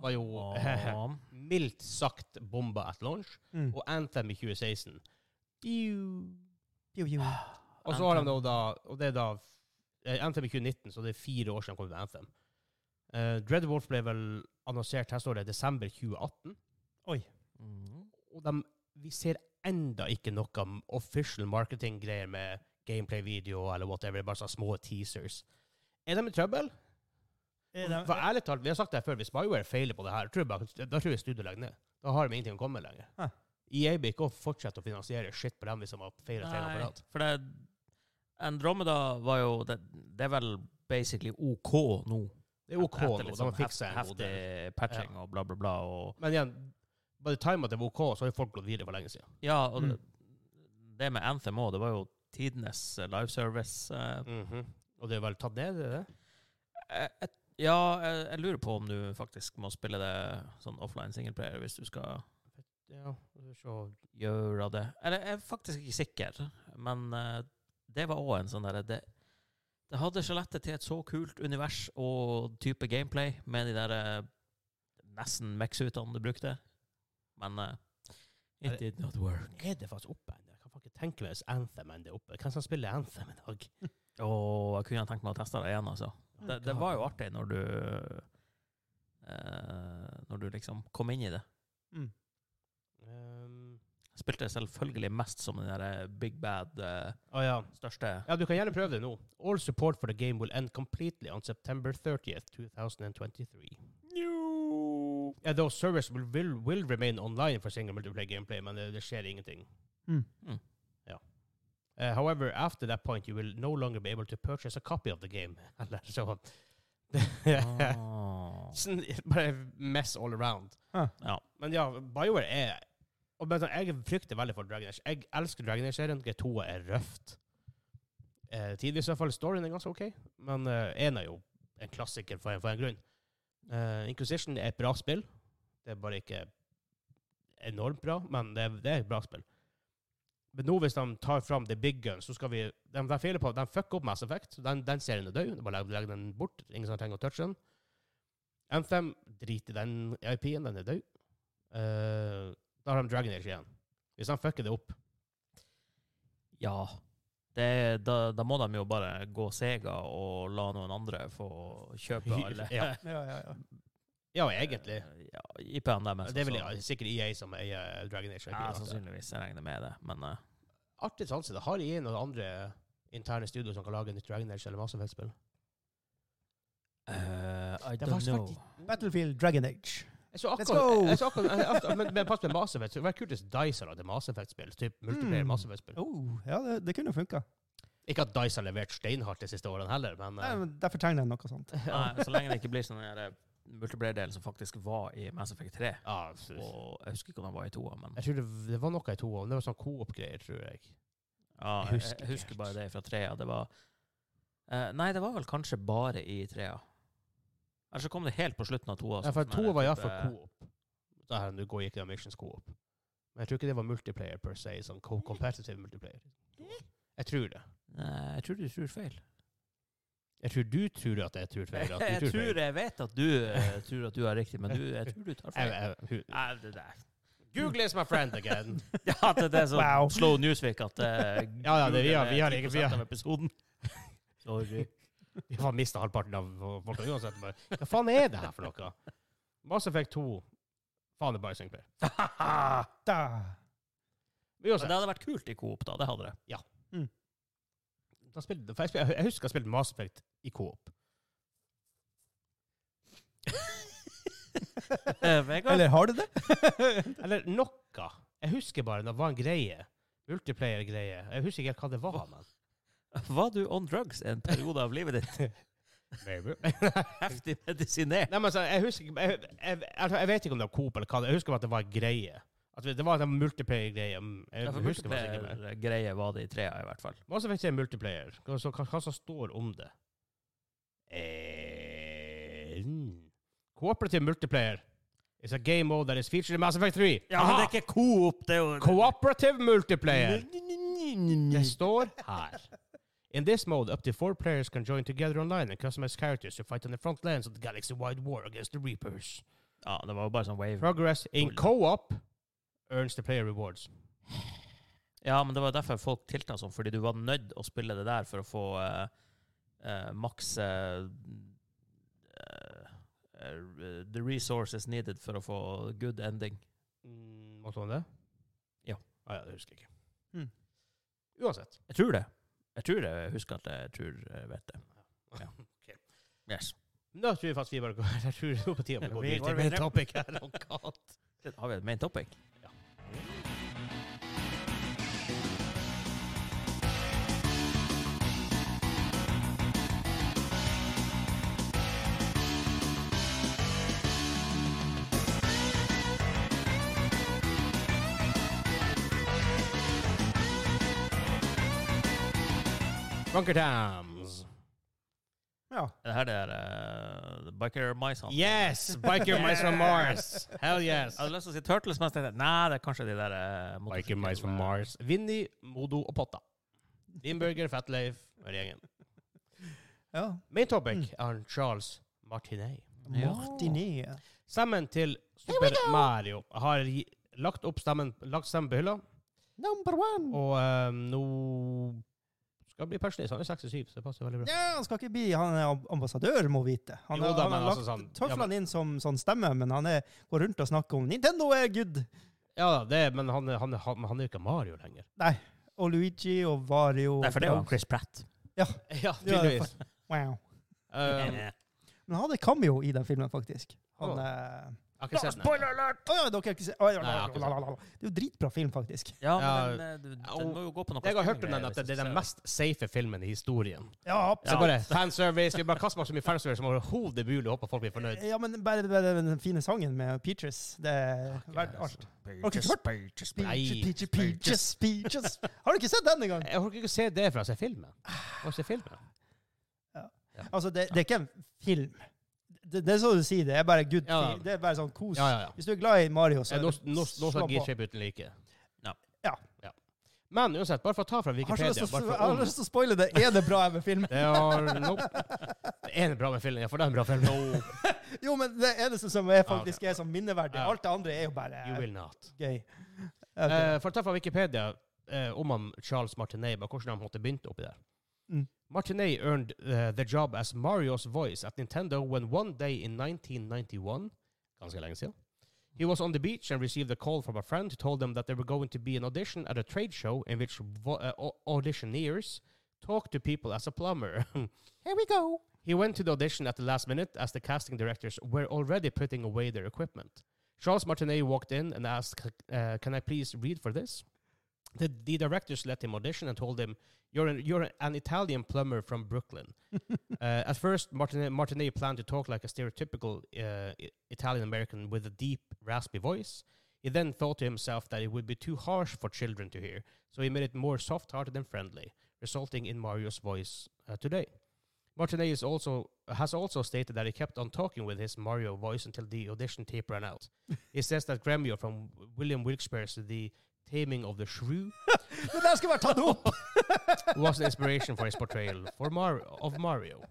S1: var jo
S3: Åh.
S1: mildt sagt bomba at launch.
S2: Mm.
S1: Og Anthem i 2016.
S2: Jo, jo.
S1: Og så har de
S3: Anthem.
S1: da, da Og det er da eh, Anthem i 2019, så det er fire år siden de kom ut med Anthem. Uh, Dreadwolf ble vel annonsert neste år i desember 2018.
S3: Mm.
S1: Og de, vi ser enda ikke noe om official marketing-greier med gameplay-video eller whatever. Det er bare sånne små teasers. Er de i trøbbel?
S2: Er de-
S1: For ærlig talt, vi har sagt det her før, hvis BioWare feiler på det her, tror jeg bare, da tror jeg studiet legger ned. Da har de ingenting å komme med lenger.
S2: Hæ.
S1: EA bør ikke fortsette å finansiere shit på dem hvis de har feilet tre ganger på
S3: Nei,
S1: rad.
S3: for det Andromeda var jo Det, det er vel basically OK nå.
S1: Det er OK
S3: Etter
S1: nå,
S3: litt
S1: de
S3: sånn
S1: har fiksa en
S3: heft-
S1: god del.
S3: Heftig patching og bla, bla, bla. Og,
S1: Men igjen, by the time at det var OK, så har jo folk gått videre for lenge siden.
S3: ja, og
S2: Mm.
S3: det- det med Anthem òg, det var jo tidenes eh, live service. eh,
S1: Og det er vel tatt ned, er det det?
S3: jeg- jeg- ja, jeg, jeg lurer på om du faktisk må spille det sånn offline singleplayer hvis du skal
S1: Ja, vi får se.
S3: gjøre det. Eller jeg er faktisk ikke sikker, men eh, det var òg en sånn derre det, det hadde skjelettet til et så kult univers og type gameplay med de der eh, nesten mex-utene du brukte, men eh,
S1: Er det-
S3: It did not work.
S1: Er det faktisk oppe ennå? Jeg kan faktisk tenke meg hvis Anthem ennå er oppe. Hvem som spiller Anthem i dag?
S3: Og jeg kunne tenkt meg å teste det igjen, altså. Det, det
S1: God.
S3: var jo artig når du eh, Når du liksom kom inn i det.
S2: Mm.
S1: Ehm,
S3: Jeg Spilte selvfølgelig mest som den derre big bad eh,
S1: Å ja.
S3: største
S1: Ja, du kan gjerne prøve det nå. All support for the game will end completely on September 30th, 2023. Yeah, though service will, will, will remain online for single multiplayer gameplay, men det, det skjer ingenting.
S2: Mm.
S3: Mm.
S1: Ja. Eh, however, after that point, you will no longer be able to purchase a copy of the game. Eller så...
S3: Ah.
S1: Sånn, Bare mess all around.
S3: Ja.
S1: Men ja, BioWare er og men sånn, Jeg frykter veldig for Dragon Age. Jeg elsker Dragon Age-serien. G2 er røft. Eh, tidvis i hvert fall storyen er ganske OK, men eh, en er jo en klassiker for en, for en grunn. Eh, Inquisition er et bra spill. Det er bare ikke enormt bra, men det er, det er et bra spill. Men nå hvis de tar fram The Big Gun, så skal vi De, de feiler på De fucker opp Mass Effect. Den, den serien er død. Bare legg, legg den bort. Ingen som trenger å touche den. Anthem, drit i den IP-en. Den er død. Eh, da har de Dragon Age igjen. Hvis han fucker det opp.
S3: ja. Det, da, da må de jo bare gå sega og la noen andre få kjøpe alle Eh,
S1: ja.
S2: Ja, ja, ja.
S1: ja, egentlig.
S3: ja, IP-en deres.
S1: Det er vel
S3: også.
S1: sikkert EA som eier Dragon Age.
S3: ja, sannsynligvis. Jeg regner med det. Men eh,
S1: Artig sanse. Det har EA noen andre interne studio som kan lage nytt Dragon Age eller Mass Effect-spill.
S3: eh, I
S1: Det er
S3: don't
S1: faktisk
S3: know.
S1: faktisk-
S2: Battlefield Dragon Age.
S1: Jeg så
S2: Let's
S1: akkurat,
S2: go!
S1: jeg så akkurat jeg- jeg- men, men pass med Mass Effect. så Det hadde vært kult hvis Dice hadde Mass Effect-spill. Typ multiplayer
S2: Mm.
S1: Mass Effect-spill.
S2: Oh, ja, det, det kunne funka.
S1: Ikke at Dice har levert steinhardt de siste årene heller, men
S2: Nei,
S1: eh,
S2: men Derfor tegner jeg noe sånt.
S3: Nei, så lenge det ikke blir sånn den der multiplayer-delen som faktisk var i Mass Effect 3.
S1: ja, så-
S3: Og jeg husker ikke om den var i toa, men
S1: Jeg tror det, det var noe i to år. Det var sånn coop-greier, tror jeg.
S3: ja,
S1: jeg husker
S3: jeg, jeg
S1: ikke
S3: husker
S1: helt.
S3: bare det fra trea. Det var eh, Nei, det var vel kanskje bare i trea. Eller så kom det helt på slutten av toa.
S1: Ja, for
S3: sånn der
S1: to var iallfall
S3: type-
S1: coop. Da her du går gikk det missions coop. Men jeg tror ikke det var multiplayer per se, sånn co competitive multiplayer. Jeg tror det.
S3: Nei, jeg tror du tror feil.
S1: Jeg tror du tror at jeg tror feil. At du
S3: jeg
S1: tror feil.
S3: tror jeg vet at du eh, tror at du har riktig, men du, jeg tror du tar feil.
S1: Jeg- jeg- hu-
S3: Nei, det der.
S1: Ah, Google is my friend again.
S3: Ja, at det er sånn
S2: Wow.
S3: slow newsweek at eh,
S1: Ja, ja, det- vi har-
S3: Google er
S1: vi har ikke- vi
S3: 10%
S1: har-
S3: av episoden. Sorry.
S1: Vi har mista halvparten av folka uansett. Bare, hva faen er det her for noe? Mass Effect 2. Faen, det er bare singleplayer.
S2: Da.
S3: Ja, det
S1: Uansett.
S3: hadde vært kult i Coop, da. Det hadde det.
S1: da spilte- for Jeg spil- jeg husker jeg spilte Mass Effect i coop.
S3: Eh, Vegard?
S2: Eller har du det?
S1: Eller noe. Jeg husker bare det var en greie. Multiplayer-greie. Jeg husker ikke helt hva det var. men...
S3: Var du on drugs en periode av livet ditt?
S1: Maybe.
S3: Heftig medisinert?
S1: Nei, men altså, jeg husker ikke- jeg, jeg, jeg, jeg vet ikke om det var Coop eller hva det Jeg husker bare at det var en greie. At det var en sånn multiplayer-greie. Mm, Jeg
S3: Ja, for
S1: husker faktisk ikke mer.
S3: Multiplayer-greie var det i trea, i hvert fall.
S1: Mass Effect 3 er multiplayer. Hva, så, hva, hva som står om det? Eh, mm. Cooperative multiplayer is a game mode that is featured in Mass Effect 3. Aha!
S3: ikke Coop, det er jo
S1: Cooperative multiplayer!
S2: Mm.
S1: Det står her. In this mode, up to four players can join together online and customize characters to fight on the front lines of the galaxy-wide war against the Reapers.
S3: Ja, det var jo bare sånn wave.
S1: Progress in co-op earns the player rewards.
S3: Ja, men det var jo derfor folk tilta sånn, fordi du var nødt å spille det der for å få eh, eh, maks eh, eh, The resources needed for å få good ending.
S1: Mm, måtte man det?
S3: Ja.
S1: Ah, ja, det husker jeg ikke.
S2: Mm.
S1: Uansett.
S3: Jeg tror det. Jeg tror det. Jeg husker at jeg tror jeg vet det. Ja.
S1: Ok.
S3: Yes.
S1: Da tror jeg faktisk vi bare går Jeg tror det er på tide å gå
S2: Vi
S1: videre
S2: går
S1: til main
S2: videre.
S1: topic her. Oh God.
S3: Det har vi et main topic?
S1: Bunker Tams.
S2: Ja.
S3: Er det her det er uh, Biker Mice han?
S1: Yes! Biker Mice from Mars. Hell yes.
S3: Jeg hadde lyst til å si Turtles, men jeg tenkte nei, det er kanskje de der uh,
S1: Biker Mice from Mars. Vinny, Modo og Potta. Limburger, Fatleif og hele gjengen.
S2: ja.
S1: Main topic er Charles Martinet.
S3: Ja.
S2: Martinet.
S1: Stemmen til
S2: we
S1: Super Mario har gi- lagt opp stemmen, lagt stemmen på hylla,
S2: Number one!
S1: og eh, nå skal det bli pensjonist. Han er 67, så det passer veldig bra.
S2: Ja, han skal ikke bli han er amb- ambassadør, må vite. Han,
S1: Jo
S2: har-
S1: da,
S2: han har
S1: men
S2: lagt
S1: altså sånn- ja,
S2: tøflene inn som sånn stemme, men han er, går rundt og snakker om Nintendo er good,
S1: Ja, det, men han, er- han, er- han, han er jo ikke Mario lenger.
S2: og Luigi og Vario.
S3: Nei, for det
S1: Oh.
S3: var Chris Pratt.
S1: Ja,
S2: tydeligvis. Wow.
S1: Um, Ehm, jeg
S2: Men han hadde cameo i den filmen, faktisk. Han,
S1: Å.
S2: eh,
S1: har ikke sett den.
S3: alert!
S2: Å ja, dere har ikke sett Å, ja,
S1: Nei, jeg har ikke sett
S2: lalalala. Det er jo dritbra film, faktisk.
S3: Ja,
S1: Ja,
S3: men den, eh, du- den må jo gå på noe
S1: Jeg har hørt om den
S3: streaminggreier
S1: at det
S3: hvis
S1: det er
S3: jeg
S1: den
S3: ser
S1: mest safe filmen i historien.
S2: Ja,
S1: Så
S2: absolutt.
S1: bare fanservice. Vi bare kaster meg så mye fanservice som overhodet mulig, og håper folk blir fornøyd.
S2: Ja, men bare, bare den fine sangen med Peaches. Det er verdt
S1: altså.
S2: alt. Har du ikke hørt?
S3: Pages,
S1: Nei.
S2: Peaches, peaches, peaches, peaches. Har du ikke sett den engang?
S1: Jeg orker ikke å se det for å se filmen. Å se filmen.
S2: Altså, det, det er ikke en film. Det, det er sånn du sier, det er bare good
S1: Ja.
S2: feel. Det er bare sånn kos.
S1: Ja, ja, ja.
S2: Hvis du er glad i Mario, så
S1: Eh,
S2: er
S1: Nå
S2: det
S1: nå- nå
S2: slå
S1: skal
S2: på.
S1: G-shape uten like.
S3: Ja.
S2: Ja.
S1: Men uansett, bare for å ta fra
S2: Jeg har så lyst
S1: Wikipedia
S2: til å-
S1: bare for
S2: jeg har
S1: om-
S2: lyst til å spoile det. Er det bra med film?
S1: Det er nope. Det er en bra med film. Ja, for det er en bra film.
S2: Jo, men det eneste som er
S1: ok.
S2: faktisk er sånn minneverdig.
S1: Ja.
S2: Alt det andre er jo bare
S1: You will not.
S2: gøy.
S1: Eh, for å ta fra Wikipedia eh, om han Charles Martinet, bare hvordan han måtte begynte oppi der.
S2: Mm.
S1: Martinet earned eh, the job as Mario's voice at Nintendo when one day in 1991, ganske lenge siden, he was on the beach and received a call from a friend who told them that there were going to be an audition at a trade show in which vo- uh, au- auditioneers talk to people as a plumber.
S2: Here we go.
S1: He went to the audition at the last minute as the casting directors were already putting away their equipment. Charles Martinet walked in and asked, uh, Can I please read for this? The, the directors let him audition and told him, You're an, you're an Italian plumber from Brooklyn. uh, at first, Martinet, Martinet planned to talk like a stereotypical uh, I- Italian American with a deep, raspy voice. He then thought to himself that it would be too harsh for children to hear, so he made it more soft hearted and friendly, resulting in Mario's voice uh, today. Martinet is also has also stated that he kept on talking with his Mario voice until the audition tape ran out. he says that Gremio from William Wilkespere's The Taming of the Shrew
S2: Det der skal være tatt opp!
S1: was an eh, inspiration for his portrayal for Mario, of Mario.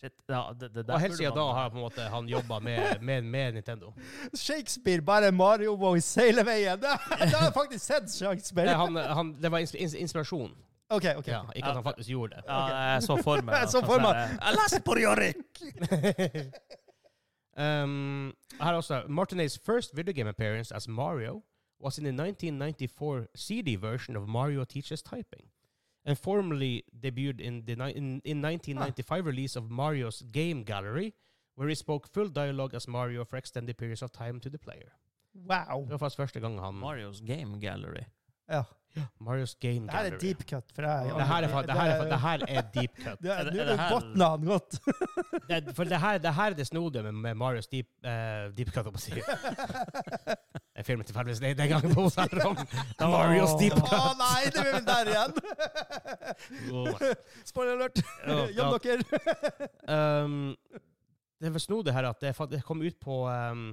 S3: Shit, ja, det, det der
S1: Og helt
S3: burde
S1: siden
S3: man-
S1: da har på en måte han jobba med, med, med Nintendo.
S2: Shakespeare, bare Mario Boys seiler veien. Da har jeg faktisk sett
S1: Det,
S2: Shakespeare.
S1: han, han, det var ins- ins- inspirasjon.
S2: OK, OK.
S1: Ja, ikke at han faktisk gjorde det.
S3: Ja, jeg så for meg
S2: Jeg så
S3: at
S2: for
S3: han
S2: meg.
S3: der, Jeg leser på Jorik!
S1: Um, her også. Martinet's first video game appearance as Mario was in the 1994 CD version of Mario Teaches Typing, and formally debuted in the ni- in, in 1995 release of Mario's Game Gallery, where he spoke full dialogue as Mario for extended periods of time to the player.
S2: Wow.
S1: Det var faktisk første gang han
S3: Marios Game Gallery.
S2: Ja.
S1: Marios Game
S2: Det her er
S1: Gallery.
S2: deep cut. For jeg,
S1: Det her er, fa- det her er, fa- det her er deep cut.
S2: Det
S3: Er
S2: er-
S3: det-
S2: Nå
S3: er
S2: er
S3: det
S2: det
S3: her-
S2: botna han godt.
S1: Det, for det her, det her er det snodige med, med Marios Deep, eh, deep Cut, holdt jeg på å si. Jeg filmet tilfeldigvis det den gangen på Osarom. Marios Deep
S2: Å
S1: Cut.
S2: nei, det blir vi der igjen!
S1: Åh.
S2: Spoiler alert.
S1: Ja,
S2: Jobb dere.
S1: Um, det var snodig her at det, fa- det kom ut på um,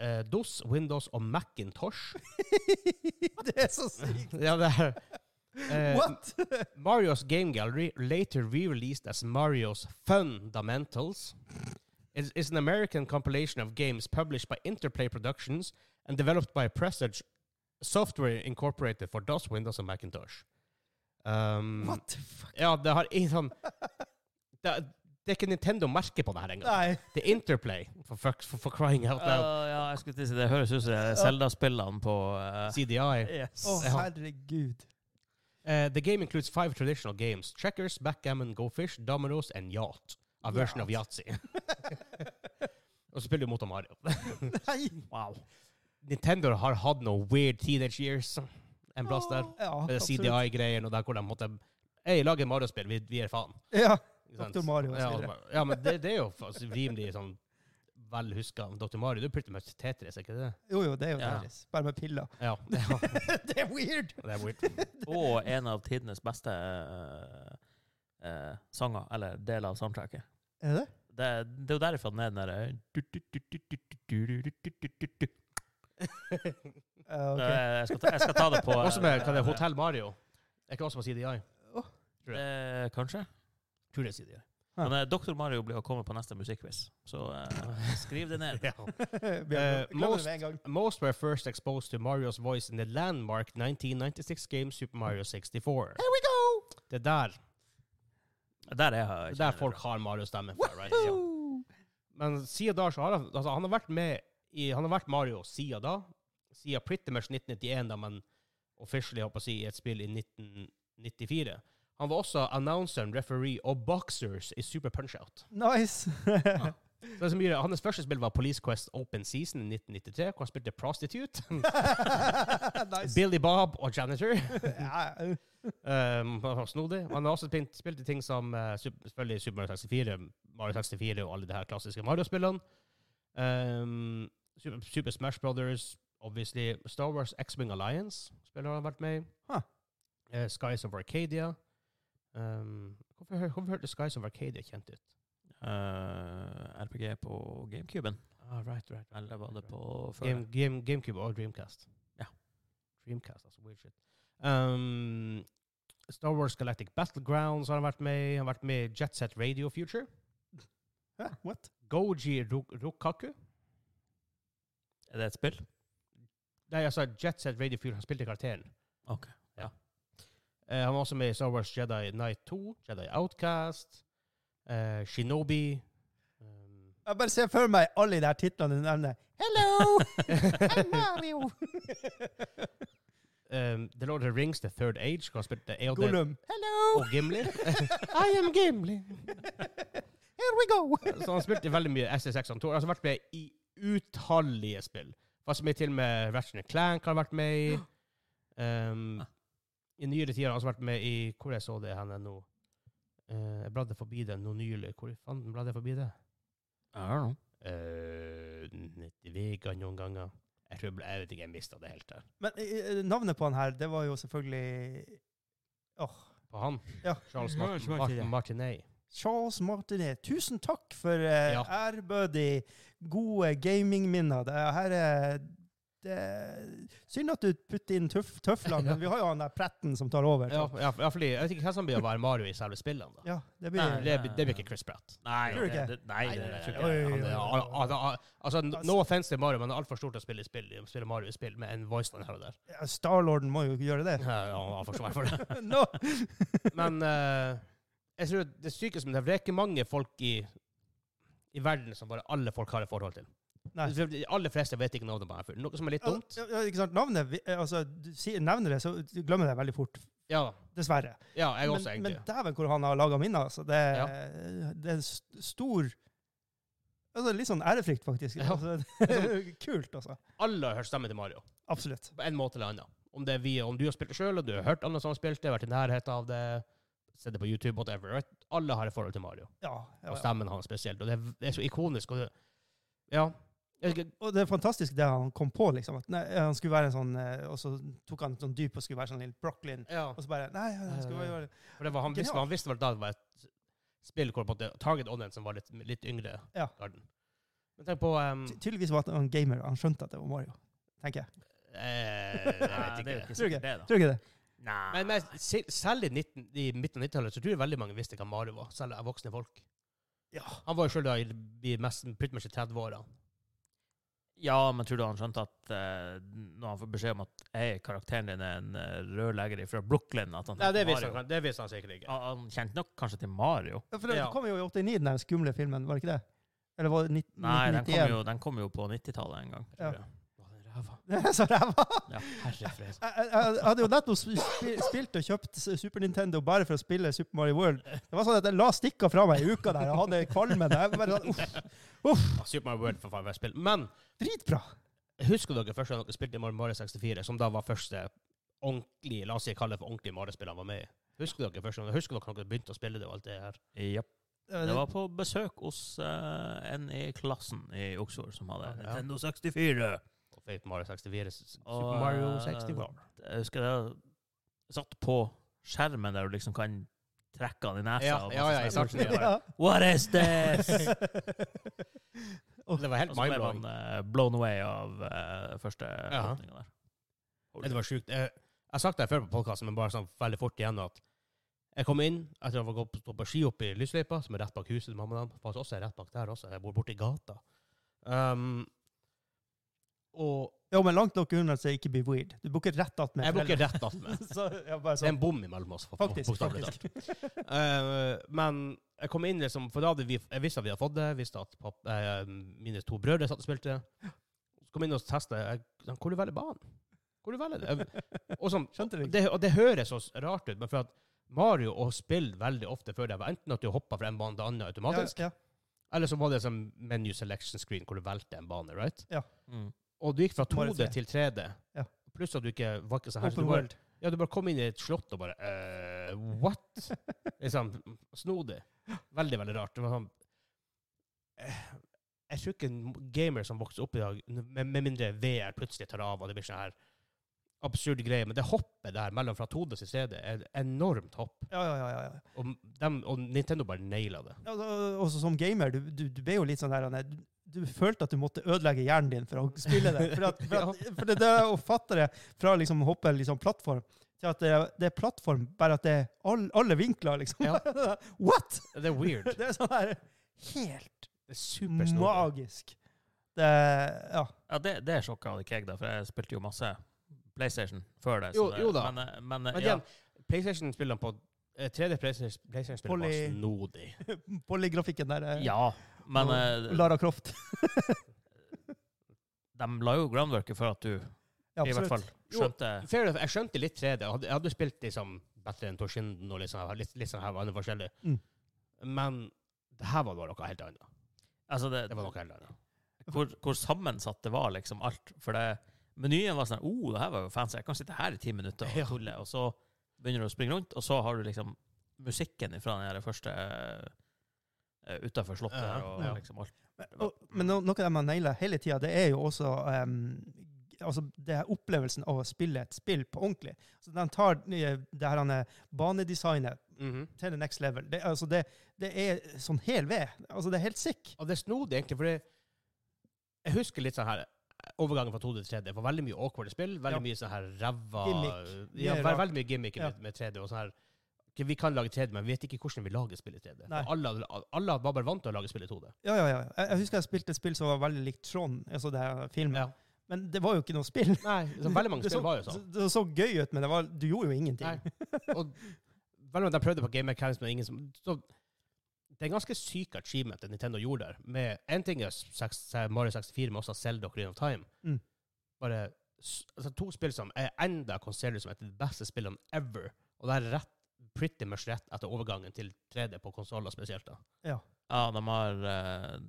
S1: eh, DOS, Windows og Macintosh.
S2: Det er så sykt.
S1: Ja, det her. eh,
S2: What?
S1: Mario's Game Gallery, later re-released as Mario's Fundamentals, is, is an American compilation of games published by Interplay Productions and developed by Presage Software Incorporated for DOS, Windows og Macintosh. Um,
S2: What the fuck?
S1: Ja, det har ingen sånn det, det er ikke Nintendo-merke på det her engang.
S2: Nei.
S1: Det er Interplay, for, fuck, for, for crying out loud.
S3: ja, jeg skulle til å si det høres ut som det er Zelda-spillene på eh,
S1: CDI.
S3: Yes.
S2: Å,
S1: Ja.
S2: herregud.
S1: Uh, the game includes five traditional games checkers, backgammon, go fish, dominoes and yacht. A version of
S2: Yacht.
S1: Yahtzee. Og så spiller du mot Mario.
S2: Nei!
S3: Wow.
S1: Nintendo har hatt noen weird teenage years en plass der.
S2: Ja,
S1: Med det
S2: absolutt.
S1: CDI-greien og der hvor de måtte Hei, lag et Mario-spill, vi, vi er faen.
S2: Ja.
S1: Ikke sant?
S2: Dr. Mario og så
S1: Ja,
S2: videre.
S1: og- ja, men det, det er jo faktisk rimelig sånn vel huska. Dr. Mario, du er pretty much Tetris, er ikke det?
S2: Jo, jo, det er jo
S3: Ja.
S2: deres. Bare med piller.
S1: Ja. ja
S2: det er weird!
S1: det er weird.
S3: Og en av tidenes beste eh, eh, sanger, eller deler av soundtracket.
S2: Er det det?
S3: Det, det er jo derifra den er den derre
S2: Ja, Ah, ok.
S3: Eh, jeg, skal ta- jeg skal ta det på eh,
S1: Også med hva det er Hotel Mario. Er ikke også på CDI?
S3: eh, Kanskje.
S1: Tror det er CDI.
S3: Men eh, Dr. Mario blir å komme på neste musikkquiz, så eh, skriv det ned.
S1: Ja.
S2: Vi har-
S1: Eh,
S2: glemmer det
S1: most-
S2: med en gang.
S1: Most were first exposed to Mario's voice in the landmark 1996 game Super Mario 64.
S2: Here we go!
S1: Det er der,
S3: Der er
S1: det
S3: jeg.
S1: er
S3: kjenner
S1: der
S3: det
S1: folk
S3: fra.
S1: har Mario-stemme fra, right? Ja.
S2: Woo!
S1: Men siden da så har han, altså, han har vært med i, Han har vært Mario siden da. Siden pretty much 1991, da, men officially, håper jeg å si, i et spill i 1994. Han var også announceren, referee og boxers i Super Punch-Out.
S2: Nice!
S1: Så det er så mye- Hans første spill var Police Quest Open Season i 1993, hvor han spilte Prostitute,
S2: nice.
S1: Billy Bob og Janitor.
S2: Ja, ja.
S1: Um, han var snodig. Han har også spilt, spilt i ting som eh, sup- selvfølgelig Super Mario 64, Mario 64 og alle de her klassiske Mario-spillene. Um, Super, Super Smash Brothers, obviously. Star Wars X-Wing Alliance spiller han har vært med i.
S2: Huh.
S1: Eh, Skies of Arcadia. Um, hvorfor, hø- hvorfor hørte Skies of Arcadia kjent ut?
S3: Eh, RPG på GameCuben.
S1: Ah, right, right.
S3: Eller var det på før?
S1: Game, game, GameCube og Dreamcast.
S3: Ja.
S1: Dreamcast, altså. Weird shit. Um, Star Wars Galactic Battlegrounds har han vært med i. Han har vært med i Jet Set Radio Future.
S2: Hæ? What?
S1: Goji Ru- Rukaku.
S3: Er det et spill?
S1: Nei, altså Jet Set Radio Future. Han spilte karakteren.
S3: Ok, ja.
S1: Eh, han var også med i Star Wars Jedi Knight 2, Jedi Outcast, eh, Shinobi um,
S2: Jeg bare ser for meg alle de der titlene du nevner. Hello! I'm Mario!
S1: um, The Lord of the Rings, The Third Age, hvor han spilte Eodel
S2: Gollum. Hello!
S1: og Gimli.
S2: I am Gimli. Here we go!
S1: Så han spilte veldig mye SSX. Han har altså vært med i utallige spill. Vært med til og med Ratchet Clank har han vært med i. Um, I nyere tider har han også vært med i Hvor jeg så det hen nå? Eh, jeg bladde forbi det nå nylig. Hvor i fanden bladde jeg forbi det?
S3: I don't know.
S1: Uh, Nett i Vega noen ganger. Jeg tror jeg, ble- jeg vet ikke, jeg mista det helt der.
S2: Men eh, navnet på han her, det var jo selvfølgelig Åh,
S1: På han.
S2: Ja.
S1: Charles
S3: Ja,
S1: Martin,
S3: svarte det.
S1: Martin, Martinet.
S2: Charles Martinet. Tusen takk for eh,
S1: Ja.
S2: ærbødig gode gamingminner. Det her er det, Synd at du putter inn tøff, tøflene, men vi har jo han der pretten som tar over.
S1: Ja, ja, for- ja, fordi jeg vet ikke hva som blir å være Mario i selve spillene. da.
S2: Ja, det
S3: Nei,
S2: blir
S1: Det, blir- det blir ikke Chris Pratt.
S3: Nei,
S2: Tror du
S3: det-
S2: ikke?
S3: det- nei,
S1: Nei,
S3: det-
S1: nei, nei,
S3: jeg tror
S1: nei,
S3: ikke
S2: Oi,
S3: det.
S2: oi,
S1: Han
S2: oi,
S1: er-
S2: oi.
S1: al- al- Altså, n- no offense til Mario, men han er altfor stor til å spille, spill, spille Mario i spill med en voice line her og der.
S2: Ja, Starlorden må jo gjøre det.
S1: Ja, han har forsvar for det.
S2: no.
S1: Men eh, jeg tror det sykeste med det, for det er ikke mange folk i, i verden som bare alle folk har et forhold til.
S2: Nei.
S1: De aller fleste vet ikke navnet på denne fyren. Noe som er litt dumt.
S2: Ja, ja, ikke sant? Navnet vi- eh, Altså, du sier, nevner det, så du glemmer det veldig fort.
S1: Ja,
S2: Dessverre.
S1: ja jeg også,
S2: Men, men
S1: egentlig.
S2: dæven hvor han har laga minner. Altså. Det, er- det er en st- stor altså, Litt sånn ærefrykt, faktisk.
S1: Ja.
S2: Altså, det er kult, altså.
S1: Alle har hørt stemmen til Mario,
S2: Absolutt.
S1: på en måte eller annen. Om, det er vi, om du har spilt det sjøl, og du har hørt andre som har spilt det, vært i nærheten av det, sett det på YouTube, whatever. right? Alle har et forhold til Mario.
S2: Ja, ja,
S1: Og
S2: ja.
S1: stemmen hans spesielt. Og det er, det er så ikonisk. Og det, ja. Jeg vet ikke-
S2: Og det er fantastisk det han kom på, liksom. At, nei, han skulle være en sånn eh, Og så tok han sånn dyp og skulle være sånn litt Brochlin.
S1: ja.
S2: Og så bare Nei, han skulle bare gjøre det.
S1: For det var, han, visste,
S2: Genialt.
S1: han visste vel da det var et spill hvor på en måte target audience var litt, litt yngre.
S2: Ja.
S1: garden. Men tenk på um,
S2: Ty- Tydeligvis var han en gamer. Han skjønte at det var Mario, tenker jeg.
S1: eh,
S3: Nei,
S1: Jeg
S3: det er
S1: vet
S3: jo
S1: ikke.
S3: ikke
S2: Tror du
S3: sikkert det, da.
S2: Tror du ikke det?
S3: Nei.
S1: Men, men se- selv i, 19, i midten av 90-tallet så tror jeg veldig mange visste hva Mario var, selv av voksne folk.
S2: Ja.
S1: Han var jo sjøl da i de mest, pretty much i 30-åra.
S3: Ja, men tror du han skjønte at eh, når han får beskjed om at hei, karakteren din er en eh, rørlegger fra Brooklyn at han
S1: Nei, det
S3: tenkte
S1: visste
S3: Mario.
S1: han, det visste han sikkert ikke.
S3: Han, han kjente nok kanskje til Mario.
S2: Ja, For det
S1: Ja.
S2: kom jo i 89, den der skumle filmen, var det ikke det? Eller var det nitt-
S3: Nei, den kom
S2: 1991?
S3: jo, den kom jo på 90-tallet en gang.
S2: Ja.
S3: tror jeg.
S1: Å, den ræva.
S2: Så ræva!
S3: Ja, herre fred.
S2: Jeg, jeg, jeg hadde jo nettopp sp- sp- spilt og kjøpt s- Super Nintendo bare for å spille Super Mario World. Det var sånn at jeg la stikka fra meg i uka der og hadde kvalmen. Jeg var bare sånn, uff,
S1: Ja, Super Mario World, for faen, var et spill. Men
S2: dritbra!
S1: husker dere første gang dere spilte Mario Mario 64, som da var første ordentlig, la oss si kalle det for ordentlig Mario-spill han var med i? Husker dere første gang, husker dere når dere begynte å spille det og alt det her?
S3: Japp.
S2: Eh,
S3: Det var på besøk hos eh, en i klassen i Oksford som hadde
S1: Ja.
S3: Nintendo 64.
S1: Og fikk Mario 64,
S3: Og,
S1: Super Mario
S3: eh,
S1: 64.
S3: Jeg husker jeg satt på skjermen der du liksom kan trekke han i nesa.
S1: Ja,
S3: og masse
S1: ja, ja, i
S3: sånne
S1: starten,
S3: ting.
S1: ja.
S3: What is this?
S1: Det var
S3: Og
S1: helt
S3: så ble
S1: mind-blowing.
S3: man eh, blown away av eh, første
S1: Ja.
S3: åpninga der.
S1: Det var sjukt. Jeg, jeg har sagt det før på podkasten, men bare sånn veldig fort igjen at jeg kom inn etter å ha gått på, stå på ski oppe i Lysløypa, som er rett bak huset til mamma og dem. Faktisk også er rett bak der også. Jeg bor borti gata. Um, og
S2: Jo, men langt nok unna så det ikke blir weird. Du booker rett attmed.
S1: jeg bor ikke rett attmed.
S2: foreldrene. Så, ja, bare
S1: Det er
S2: sånn.
S1: en bom imellom oss, for-
S2: Faktisk,
S1: bokstavelig talt.
S2: faktisk.
S1: Eh, men jeg kom inn liksom, for da hadde vi, jeg visste at vi hadde fått det, jeg visste at papp, eh, mine to brødre satt og spilte. Så kom jeg inn og testet, jeg, sånn, hvor du velger banen? Hvor du velger det? Jeg, og, sånn,
S2: Skjønte du ikke?
S1: det? og det høres så rart ut, men for at Mario og spill veldig ofte før det var enten at du hoppet fra en bane til annen automatisk,
S2: Ja, ja.
S1: eller så var det som menu selection screen hvor du velte en bane, right?
S3: Mm.
S1: Og du gikk fra
S2: Mario
S1: 2D
S2: tre.
S1: til 3D.
S2: Ja.
S1: Pluss at du ikke var ikke så her. så
S2: Open
S1: du bare-
S2: world.
S1: ja, du bare kom inn i et slott og bare eh, What? Liksom, snodig. Veldig, veldig rart. Det var sånn eh, Jeg tror ikke en gamer som vokser opp i dag, med, med mindre VR plutselig tar av, og det blir sånn her absurd greie, men det hoppet der mellom fra 2D til 3D er et enormt hopp.
S2: Ja, ja, ja. ja, ja.
S1: Og, dem, og Nintendo bare naila det.
S2: Ja, og- og så Altså, som gamer, du, du, du ble jo litt sånn der Anne, du, du følte at du måtte ødelegge hjernen din for å spille det. For, at, for, at, for det, det å fatte det fra liksom å hoppe liksom plattform til at det, det er plattform, bare at det er all, alle vinkler, liksom.
S1: Ja.
S2: What?!
S1: Det er weird.
S2: Det er sånn her helt
S1: Det er supersnodig.
S2: magisk. Det Ja.
S3: Ja, det, det sjokka hadde ikke jeg, da, for jeg spilte jo masse PlayStation før det. så
S1: Jo-
S3: det-
S1: jo da.
S3: Men, eh, men, eh,
S1: Men
S3: ja.
S1: igjen, PlayStation-spillene på eh, 3D PlayStation-spillene var
S2: Poly-
S1: snodig.
S2: Polygrafikken der. eh,
S3: ja, men eh,
S2: Lara Croft.
S3: de la jo groundworket for at du
S2: Ja,
S3: i hvert fall
S2: absolutt.
S1: Jo.
S3: skjønte
S1: Fair enough. Jeg skjønte litt 3D. Jeg hadde, jeg hadde spilt liksom Battle in Toshinden og litt sånn her- litt, litt sånn her var det forskjellig.
S2: Mm.
S1: Men det her var bare noe helt annet.
S3: Altså, det,
S1: Det var noe helt annet.
S3: hvor, hvor sammensatt det var, liksom, alt. For det, menyen var sånn oh, det her var jo fancy. Jeg kan sitte her i ti minutter
S1: Ja.
S3: og tulle. Og så begynner du å springe rundt, og så har du liksom musikken fra den her første uh, utafor slottet
S1: Ja,
S3: der, og
S2: ja.
S3: liksom alt.
S2: Men, og, men no, noe av det man nailer hele tida, det er jo også em, g- altså det er opplevelsen av å spille et spill på ordentlig. Så De tar eh, det her han, eh, banedesignet til the next level. Det, altså det, det er sånn hel ved. Altså det er helt sick.
S1: Og det er snodig, egentlig, for det- jeg husker litt sånn her Overgangen fra 2D til 3D var veldig mye awkward spill. Veldig
S2: Ja.
S1: mye sånn her ræva
S2: Gimmick.
S1: Ja,
S2: Mye
S1: ve
S2: rart.
S1: veldig mye gimmick
S2: Ja.
S1: med, med 3D. og sånn her Ok, Vi kan lage 3D, men vi vet ikke hvordan vi lager spill i 3D.
S2: Nei.
S1: For Alle, alle var bare vant til å lage spill i 2D.
S2: Ja, ja, ja. Jeg, jeg husker jeg spilte et spill som var veldig likt Trond, altså det her filmen.
S1: Ja.
S2: Men det var jo ikke noe spill.
S1: Nei, så veldig mange
S2: Det så-
S1: spill var jo sånn.
S2: Det, det så gøy ut, men det var, du gjorde jo ingenting.
S1: Nei. Og vel om de prøvde på Game Mechanics, men ingen som så, Det er en ganske syk achievement det Nintendo gjorde der. Med en ting er seks- Mario 64, men også Zelda Ocarina of Time.
S2: Mm.
S1: Bare s- altså, to spill som jeg enda konserverer som et av de beste spillene ever. Og det er rett, pretty much rett etter overgangen til 3D på konsoller spesielt. da.
S3: Ja, de har eh,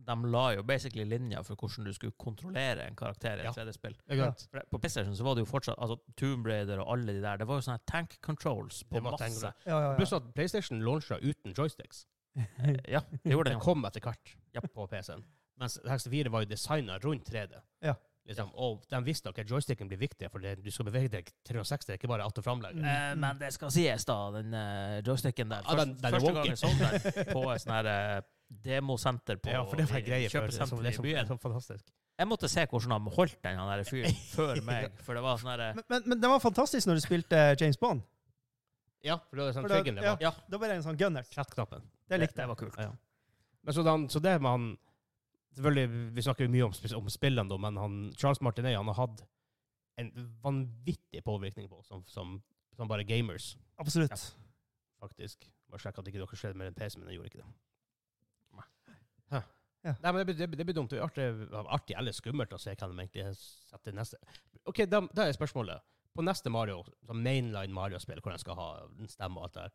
S3: De la jo basically linja for hvordan du skulle kontrollere en karakter i
S1: Ja.
S3: et 3D-spill.
S2: Ja.
S1: Det
S3: For det- På PlayStation så var det jo fortsatt altså Tomb Raider og alle de der. Det var jo sånne tank controls på
S1: var
S3: masse.
S1: tenkt-
S2: Ja, ja,
S1: Pluss
S2: ja.
S1: at PlayStation launcha uten joysticks.
S3: Ja, det gjorde
S1: Det
S3: det.
S1: kom etter hvert på PC-en. Mens 64 var jo designa rundt 3D.
S2: Ja.
S1: Liksom, og de visste at joysticken blir viktig, for det, du skal bevege deg 360, ikke bare alt og framlegg.
S2: Mm.
S3: Eh, men det skal sies, da, den eh, joysticken der.
S1: Ja, den- den er
S3: første
S1: wonky.
S3: gang jeg så den på et sånt her eh, demosenter på
S1: Ja, for det var en greie før. Det sånn- som-
S3: kjøpesenter
S1: det
S3: i
S1: som- det
S3: byen.
S1: som fantastisk.
S3: Jeg måtte se hvordan han holdt den, han der fyren, før meg. For det var sånn her eh,
S2: Men, men, men det var fantastisk når du spilte James Bond.
S1: Ja, for det var sånn
S2: For det-
S1: triggeren det
S2: ja.
S1: var.
S3: Ja,
S2: Da ble det en sånn gunner.
S1: Kjettknappen.
S2: Det likte jeg.
S3: det var kult.
S1: Ja. Men så, den, så det med han Selvfølgelig, Vi snakker jo mye om, sp- om spillene, da, men han, Charles Martinet han har hatt en vanvittig påvirkning på oss som, som, som bare gamers,
S2: Absolutt.
S1: faktisk. Bare sjekk at ikke dere skjedde med en PC, men jeg gjorde ikke det.
S3: Nei.
S1: Hæ.
S2: Ja.
S1: Nei, men det blir, det, blir- det blir dumt. Det blir artig, artig eller skummelt å se hva de egentlig setter neste OK, da, da er spørsmålet. På neste Mario, som mainline Mario-spill, hvor han skal ha en stemme og alt det der,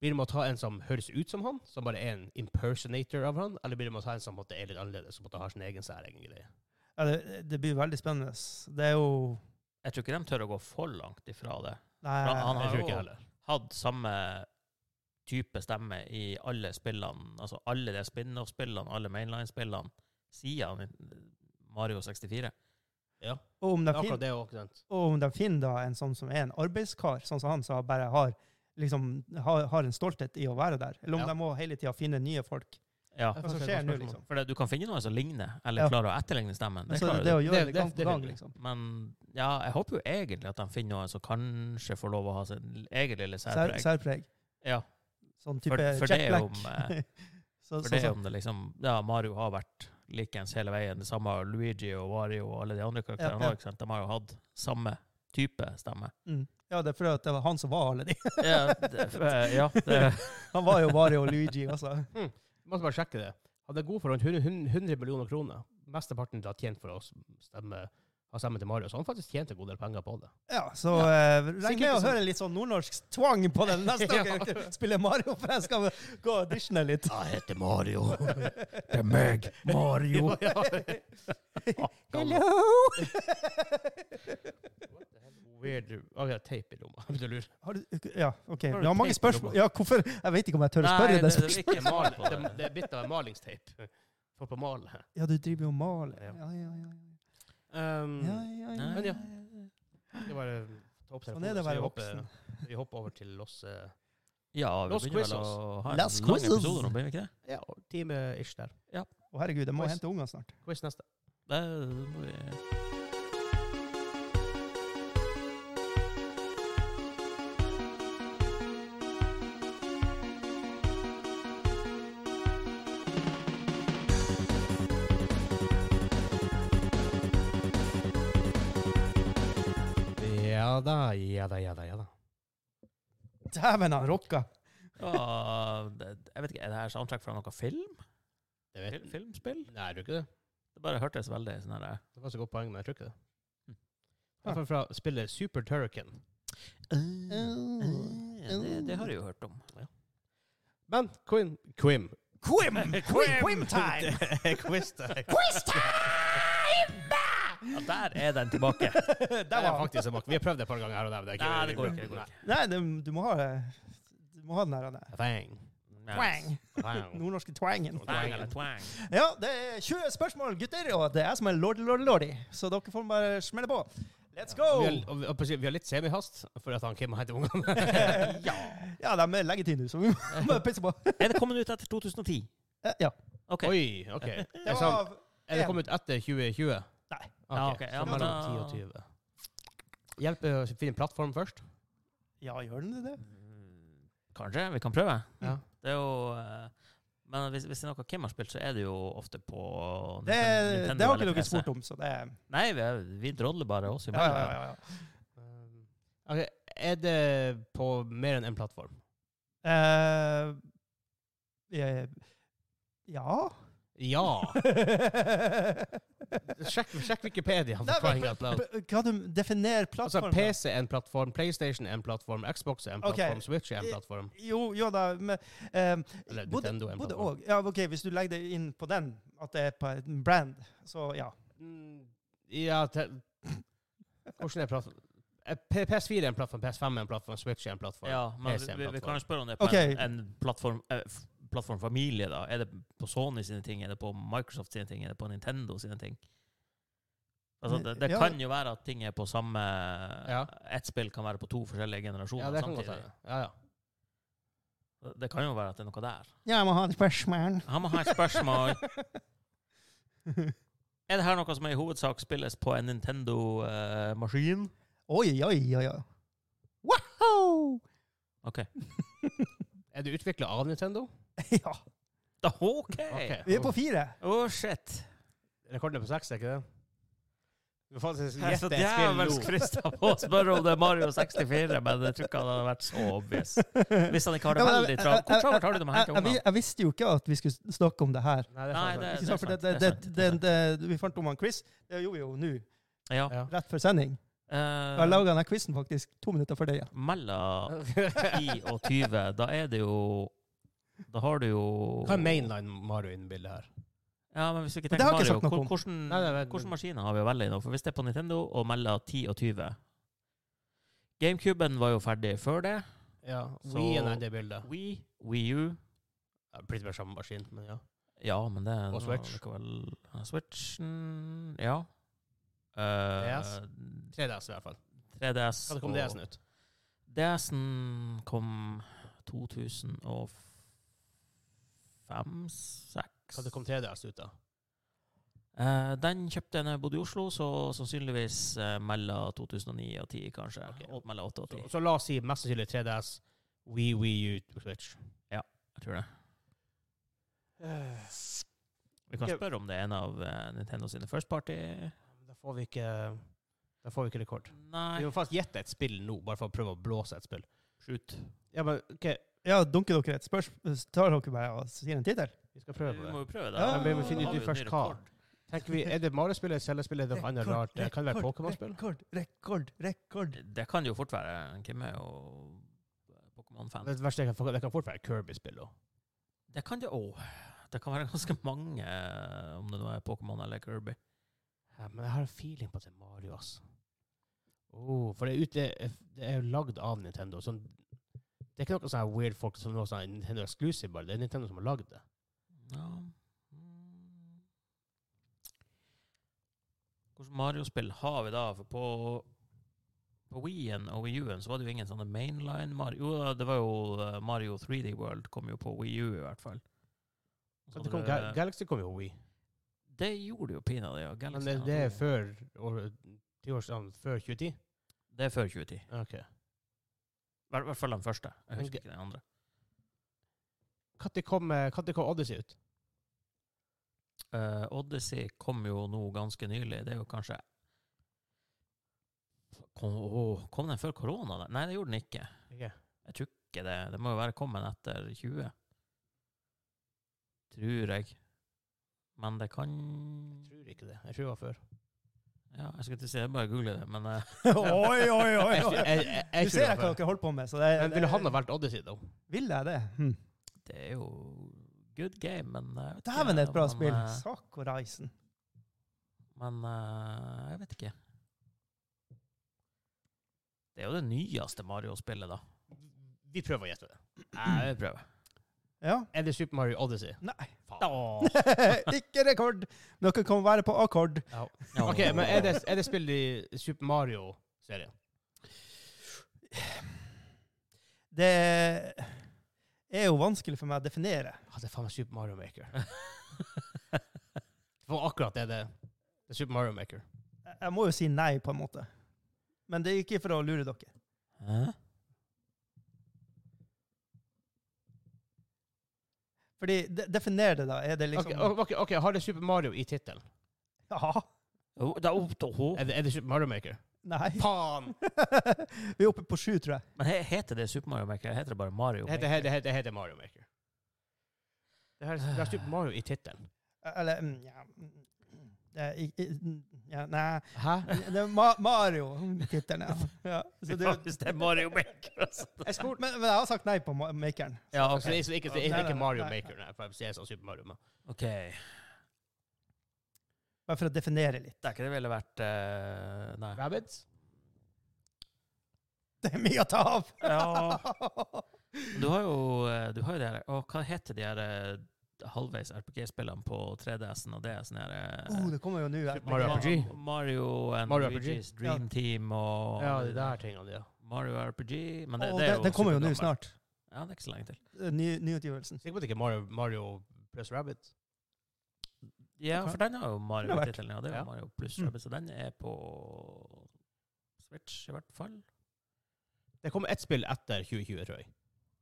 S1: blir det med å ta en som høres ut som han, som bare er en impersonator av han, eller blir det med å ta en som på en måte er litt annerledes, som på en måte har sin egen særegen greie?
S2: Ja, det, det blir veldig spennende. Det er jo
S3: Jeg tror ikke de tør å gå for langt ifra det.
S2: Nei,
S3: Ja, han
S1: Jeg
S3: har
S1: tror
S3: jo-
S1: ikke heller.
S3: hatt samme type stemme i alle spillene, altså alle de spin-off-spillene, alle mainline-spillene, siden Mario 64.
S2: og om
S1: Det er
S2: de
S1: akkurat
S2: finner,
S1: det òg, ikke sant?
S2: og om de finner da en sånn som er en arbeidskar, sånn som han, som bare har, liksom, har, har en stolthet i å være der, eller om
S1: Ja.
S2: de må hele tida finne nye folk.
S3: Ja.
S2: Hva som skjer nå, liksom?
S3: For det, du kan finne noen som ligner, eller
S2: Ja.
S3: klarer å etterligne stemmen. Det
S2: Men så er
S3: klarer
S2: det det
S3: du.
S2: å gjøre
S1: Altså, Det- det-
S2: det gang
S1: det
S2: på gang,
S1: vil jeg.
S2: liksom.
S3: Men ja, jeg håper jo egentlig at de finner noen som kanskje får lov å ha sin egen lille
S2: Sær,
S3: særpreg.
S2: særpreg.
S3: Ja,
S2: Sånn
S3: for,
S2: type
S3: for det
S2: Jack
S3: er jo
S2: Black.
S3: om, eh,
S2: Så,
S3: for
S2: sånn
S3: det er jo
S2: som-
S3: om det liksom Ja, Mario har vært likeens hele veien. Det samme har Luigi og Wario og alle de andre
S2: Ja,
S3: karakterene
S2: ja.
S3: også, ikke sant? De har jo hatt samme type stemme.
S2: mm. Ja, det er fordi at det var han som var alle de.
S3: Ja, det, Eh, ja, det
S2: Han var jo Mario og Luigi altså. også.
S1: Vi Måtte bare sjekke det. Hadde god for rundt 100 100 millioner kroner. Mesteparten har tjent for å stemme, ha stemme til Mario, så han faktisk tjente en god del penger på det.
S2: Ja, så
S3: Ja.
S2: eh, regn
S1: Sikkert
S2: med å
S1: ikke sånn-
S2: høre litt sånn nordnorsk tvang på den neste
S1: Ja.
S2: gang dere spiller Mario, for jeg skal gå og auditione litt.
S1: Jeg heter Mario. Det er meg, Mario. altså.
S3: Hello!
S1: Weird. Å, vi har teip i lomma. Vil du lure?
S2: Har du, ja, OK.
S3: Har du
S2: Vi har mange
S3: tenkt på
S2: spørsmål.
S3: noe?
S2: Ja, hvorfor? Jeg vet ikke om jeg tør å
S3: Nei,
S2: spørre det
S3: det, det er
S2: spørsmålet.
S3: ikke mal på
S1: Det,
S3: det.
S1: det er bitt av en malingsteip. For på male.
S2: Ja, du driver jo og maler.
S1: Ja.
S2: Ja, ja, ja.
S1: Um,
S2: ja, ja, ja,
S1: Men ja.
S2: ja.
S1: Det var eh, topp
S2: Sånn er det å være voksen.
S1: Vi hopper over til oss eh,
S3: Ja, vi
S1: Los
S3: begynner vel
S1: Quizzos.
S3: å ha en
S2: Las
S3: lang
S2: Quizzos.
S3: episode nå, begynner vi ikke det?
S1: ja, time-ish der.
S2: Å, herregud, jeg må
S1: Quiz.
S2: hente ungene snart.
S1: Quiz neste.
S3: det må vi...
S1: Ja da, ja da, ja da. ja da.
S2: Dæven, han rocka!
S3: Ja, det, jeg vet ikke, er det her soundtrack fra noe film?
S1: Det
S3: Fil,
S1: vet
S3: filmspill?
S1: Nei, er du ikke det?
S3: Det bare hørtes veldig sånn her eh,
S1: Det var så godt poeng, men jeg tror ikke det.
S3: Hm.
S1: I hvert fall fra spillet Super Turrican.
S2: Oh.
S3: eh, det, det har jeg jo hørt om.
S1: Men Quim Quim.
S2: Quim! Quim, quim time!
S1: Quiz time!
S2: Quiz time!
S3: Ja, der er den tilbake.
S1: Der
S2: Der
S1: var
S2: var
S1: faktisk en bak. Vi har prøvd det et par ganger her og der. men Det,
S3: Nei, det går ikke. Det går ikke.
S2: Nei, du, du må ha Du må ha den der, den
S1: Fang.
S3: Nei.
S2: twang.
S1: Fang.
S2: Nordnorske twangen.
S3: Twang eller twang.
S2: Ja, det er 20 spørsmål, gutter, og det er jeg som er lord, lord, lordy. Så dere får bare smelle på. Let's go!
S1: Vi, har, og vi, og på å si- vi har litt semihast for at han Kim heter ungene.
S3: Ja.
S2: Ja, de er leggetid nå, så vi må pisse på.
S3: Er det kommet ut etter 2010?
S2: Eh, Ja.
S3: Ok.
S1: Oi, OK.
S2: Det
S1: Er, sant?
S2: var
S1: er det kommet ut etter 2020?
S2: Nei.
S3: Ja, ok. Ja,
S1: Så
S3: men
S1: mellom
S3: da-
S1: 10 og 20. Hjelper å finne plattform først.
S2: Ja, gjør den det?
S3: Mm, Kanskje, vi kan prøve.
S1: Ja.
S3: Det er jo eh, Men hvis, hvis det er noe Kim har spilt, så er det jo ofte på
S2: Det,
S3: Nintendo
S2: det har
S3: eller
S2: ikke dere
S3: PC.
S2: spurt om, så det er
S3: Nei, vi, vi drodler bare oss
S2: ja,
S3: imellom.
S2: ja, ja, ja.
S1: Um, Ok, Er det på mer enn én plattform?
S2: Eh, eh, ja.
S1: Ja.
S2: Nei,
S1: Sjekk, sjekk Wikipedia. for
S2: men
S1: crying out loud.
S2: p- Hva du definerer
S1: Altså,
S2: plattformen?
S1: PC er en plattform, PlayStation er en plattform, Xbox er en
S2: Ok.
S1: plattform, Switch er en plattform.
S2: Jo, jo da, men ehm,
S1: Eller
S2: både-
S1: Nintendo er en
S2: både
S1: plattform.
S2: og. Ja, ok, Hvis du legger det inn på den, at det er på en brand, så ja.
S1: Mm, Ja, te Hvordan er plattform? Eh, P- PS4 er en plattform, PS5 er en plattform, Switch er en plattform.
S3: Ja, men
S1: PC er en
S3: vi, vi kan
S1: plattform.
S3: jo spørre om det er på
S2: Ok.
S3: en, en plattform, eh, f- plattformfamilie, da. Er det på Sony sine ting, er det på Microsoft sine ting, er det på Nintendo sine ting? Altså, det det
S2: Ja.
S3: kan jo være at ting er på samme
S1: Ja.
S3: Ett spill kan være på to forskjellige generasjoner
S1: Ja, det kan godt
S3: samtidig.
S1: være. Ja, ja.
S3: Det kan jo være at det er noe der.
S2: Jeg må ha et spørsmål.
S3: Han må ha et spørsmål. er det her noe som i hovedsak spilles på en eh, Nintendo-maskin?
S2: Oi, oi, oi, oi. Wow!
S3: OK.
S1: Er det utvikla av Nintendo?
S2: ja.
S3: Da, OK!
S1: Ok. Oh.
S2: Vi er på fire.
S3: Oh, shit.
S1: Rekorden er på seks, er ikke det? Du får faktisk
S3: Jeg er så
S1: gjette et spill
S3: djevelsk
S1: nå.
S3: frista på å spørre om det er Mario 64, men jeg tror ikke han hadde vært så obvious. Hvis han ikke har det
S2: Ja, men eh,
S3: veldig travelt. Hvor travelt har du det med å
S2: jeg,
S3: hente
S2: jeg,
S3: ungene?
S2: jeg visste jo ikke at vi skulle snakke om det her.
S1: Nei, det er
S3: Nei,
S1: sant.
S3: det-
S2: Ikke sant? For det,
S3: sant,
S2: det, det,
S3: det er sant, det er
S2: det, det, vi fant om han quiz. Det gjorde vi jo nå,
S3: Ja.
S1: Ja.
S2: rett før sending.
S3: Eh,
S2: eh, Jeg laga denne quizen faktisk to minutter før det. Ja.
S3: Mellom 10 og 20, da er det jo Da har du jo
S1: Hva er mainline Mario innen bildet her?
S3: Ja, men hvis vi ikke
S2: Men det har
S3: tenker
S2: jeg ikke
S3: Mario,
S2: sagt noe
S3: hvor-
S2: om.
S3: hvordan,
S1: Nei, nei, nei,
S3: hvordan
S1: men-
S3: maskiner har vi å velge i nå? For hvis det er på Nintendo og mellom 10 og 20 GameCuben var jo ferdig før det.
S1: Ja,
S3: Så-
S1: Wien er det bildet.
S3: Wii, Wii U
S1: Ja, Pretty much samme maskin, men ja.
S3: Ja, men det er
S1: Og
S3: nå
S1: Switch.
S3: likevel- ja, Switchen Ja. Eh,
S1: DS. 3DS i hvert fall.
S3: 3DS.
S1: Hva kom
S3: og-
S1: DS-en ut?
S3: DS-en kom 2005-2006.
S1: Hva kom 3DS ut da?
S3: Eh, den kjøpte jeg når jeg bodde i Oslo, så sannsynligvis eh, mellom 2009 og 10 kanskje.
S1: Ok.
S3: Og Mellom 8 og
S1: Så,
S3: 10.
S1: så la oss si mest sannsynlig 3DS, Wii, Wii U, Switch.
S3: Jeg tror det.
S1: Eh,
S3: Vi kan
S1: Ok.
S3: spørre om det er en av eh, Nintendo sine first party.
S1: Da får vi ikke, da får vi ikke rekord. Vi
S3: Nei.
S1: må faktisk gjette et spill nå, bare for å prøve å blåse et spill.
S3: Shoot.
S1: Ja, men ok,
S2: Ja, dunker dere et spørsmål? Tar dere bare og sier en tittel?
S1: vi skal
S3: Vi
S1: prøve det.
S3: må jo prøve det.
S2: Ja,
S3: Da
S2: men vi må
S3: har
S2: finne ut
S1: i
S3: vi jo en ny
S1: først hva.
S3: rekord.
S1: Tenker vi, Er det Mario-spill, er det Zelda-spill, er det noe annet rart? Det kan være Pokémon-spill?
S2: Rekord, rekord, rekord.
S3: Det kan det jo fort være. Hvem er jo Pokémon-fan?
S1: Det verste jeg kan, få- det kan fort være Kirby-spill òg.
S3: Det kan det òg. Det kan være ganske mange, eh, om det nå er Pokémon eller Kirby.
S1: Ja, men jeg har en feeling på at det er Mario, ass. Oh, for det er, ute, det er jo lagd av Nintendo. Sånn, det er ikke noe sånn her weird folk som noe sånn Nintendo exclusive, bare. Det er Nintendo som har lagd det.
S3: Ja. Mm. Hvilke Mario-spill har vi da? For på, på Wii-en og Wii U-en så var det jo ingen sånne mainline Mario. Jo, det var jo eh, Mario 3D World kom jo på Wii U i hvert fall. Og så
S1: det kom,
S3: hadde
S1: Ga-
S3: det-
S1: Galaxy kom jo Wii.
S3: det gjorde jo pinadø, ja.
S1: Men
S3: Galaxy
S1: det,
S3: hadde
S1: det er
S3: to.
S1: før år- ti år siden, før 2010.
S3: det er før 2010.
S1: Ok.
S3: I hvert- hvert fall den første. Jeg
S1: Men
S3: husker
S1: Ga-
S3: ikke den andre.
S1: Når kom, eh, når kom Odyssey ut?
S3: Eh, Odyssey kom jo nå ganske nylig. Det er jo kanskje Kom, åh, kom den før korona? da? Nei, det gjorde den ikke.
S1: Ikke?
S3: Jeg tror ikke det. Det må jo være kommet etter 20. Tror jeg. Men det kan
S1: Jeg tror ikke det. Jeg tror det var før.
S3: Ja, jeg skulle til å si det, bare google det, men eh,
S2: oi, oi, oi!
S1: Jeg, tror- jeg, jeg, jeg
S2: Du ser
S1: tror det
S2: hva
S1: var før.
S2: dere holder på med. Så det,
S1: Men ville han ha Hmm. valgt Odyssey, da?
S2: Vil jeg det? Hm.
S3: det er jo good game, men jeg vet ikke
S2: Dæven, det er et bra
S3: om,
S2: spill.
S3: eh,
S2: Sakuraisen.
S3: Men eh, jeg vet ikke. Det er jo det nyeste Mario-spillet, da.
S1: Vi prøver å gjette det.
S3: Jeg vil prøve.
S2: Ja.
S1: Er det Super Mario Odyssey?
S2: Nei.
S1: Faen.
S2: Ikke rekord. Dere kan være på akkord.
S1: Ja.
S3: Ja.
S1: Ok, men er det, er det spill i Super Mario-serien?
S2: Det er jo vanskelig for meg å definere.
S1: Ja, Ah, det er faen meg Super Mario Maker. For akkurat det er det. Det er Super Mario Maker.
S2: Jeg- Jeg må jo si nei, på en måte. Men det er ikke for å lure dere.
S3: Hæ?
S2: Fordi, de, Definer det, da. Er det liksom
S1: Ok, ok, ok, Har det Super Mario i tittelen?
S2: Ja.
S3: Jo, det er opp til henne.
S1: Er, det- er det Super Mario Maker?
S2: Nei.
S1: Faen!
S2: Vi er oppe på sju, tror jeg.
S3: Men he- heter det Super Mario Maker? Heter det bare Mario?
S1: Det heter, det heter, det heter Mario Maker. Det har, det har Super Mario i tittelen.
S2: Eller mm, ja. mm, Det er, i- i- ja, Nei.
S1: Hæ?
S2: Det er Ma Mario-tittelen, ja. ja. Så det,
S3: Hvis det er Mario Maker, altså.
S1: Jeg spurte
S2: men, men jeg har sagt nei på ma makeren.
S3: Ja,
S1: Så det er så ikke, så det er
S2: Nei,
S1: ikke
S2: nei,
S1: Mario
S2: nei, nei.
S1: Maker, nei, for jeg sa Super Mario. Men.
S3: Ok. Det
S2: Bare for å definere litt.
S3: er ikke det ville vært eh, Nei.
S1: Rabbids?
S2: Det er mye å ta av!
S3: Ja. Du har jo, eh, du har jo det her Å, hva heter de her eh, halvveis RPG-spillene på 3DS-en og DS-en her? eh,
S2: Oh, det kommer jo nå.
S1: Super Mario
S3: Ma-
S1: RPG.
S3: Mario and
S1: Mario
S3: Luigi's Dream Team og
S1: Ja, de der tingene, ja.
S3: Mario RPG. Men det,
S2: Å,
S3: det er
S2: den-
S3: jo
S2: den kommer jo nå
S3: supergammel.
S2: snart.
S3: Ja, det er ikke så lenge til.
S2: Eh, Ny, nyutgivelsen.
S1: Sikker på at det ikke er Mario, Mario pluss Rabbit?
S3: Ja,
S2: Ok.
S3: for den har jo Mario
S2: Den har vært.
S3: tittelen. Ja, det er jo
S1: Ja.
S3: Mario pluss
S2: Mm.
S3: Rabbids, så den er på Switch i hvert fall.
S1: Det kommer ett spill etter 2020, tror jeg.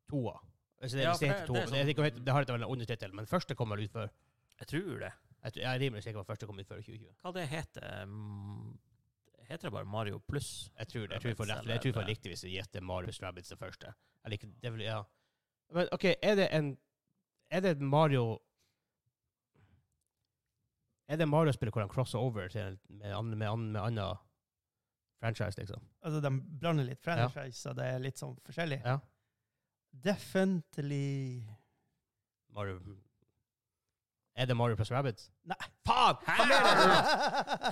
S1: Toa. Altså, det,
S3: Ja,
S1: hvis det,
S3: for
S1: heter
S3: det-
S1: to,
S3: det er
S1: det, er
S3: sånn-
S1: ikke- det, har et veldig ond tittel, men første kommer ut før
S3: Jeg tror det.
S1: Jeg tror- jeg er rimelig sikker på at første kom ut før 2020.
S3: Hva det heter mm, Heter det bare Mario pluss?
S1: Jeg tror det. Jeg tror vi får rett. Jeg tror vi får riktig hvis vi gjetter Marius Rabbits det første. Eller ikke det er vel, ja. Men OK, er det en Er det en Mario Er det en Mario-spill hvor han crosser over til, med andre med, an- med annen franchise, liksom?
S2: Altså, de blander litt franchise, så det er litt sånn forskjellig.
S1: Ja.
S2: Definitely
S1: Mario Er det Mario pluss Rabbits?
S2: Nei.
S1: Faen! Hva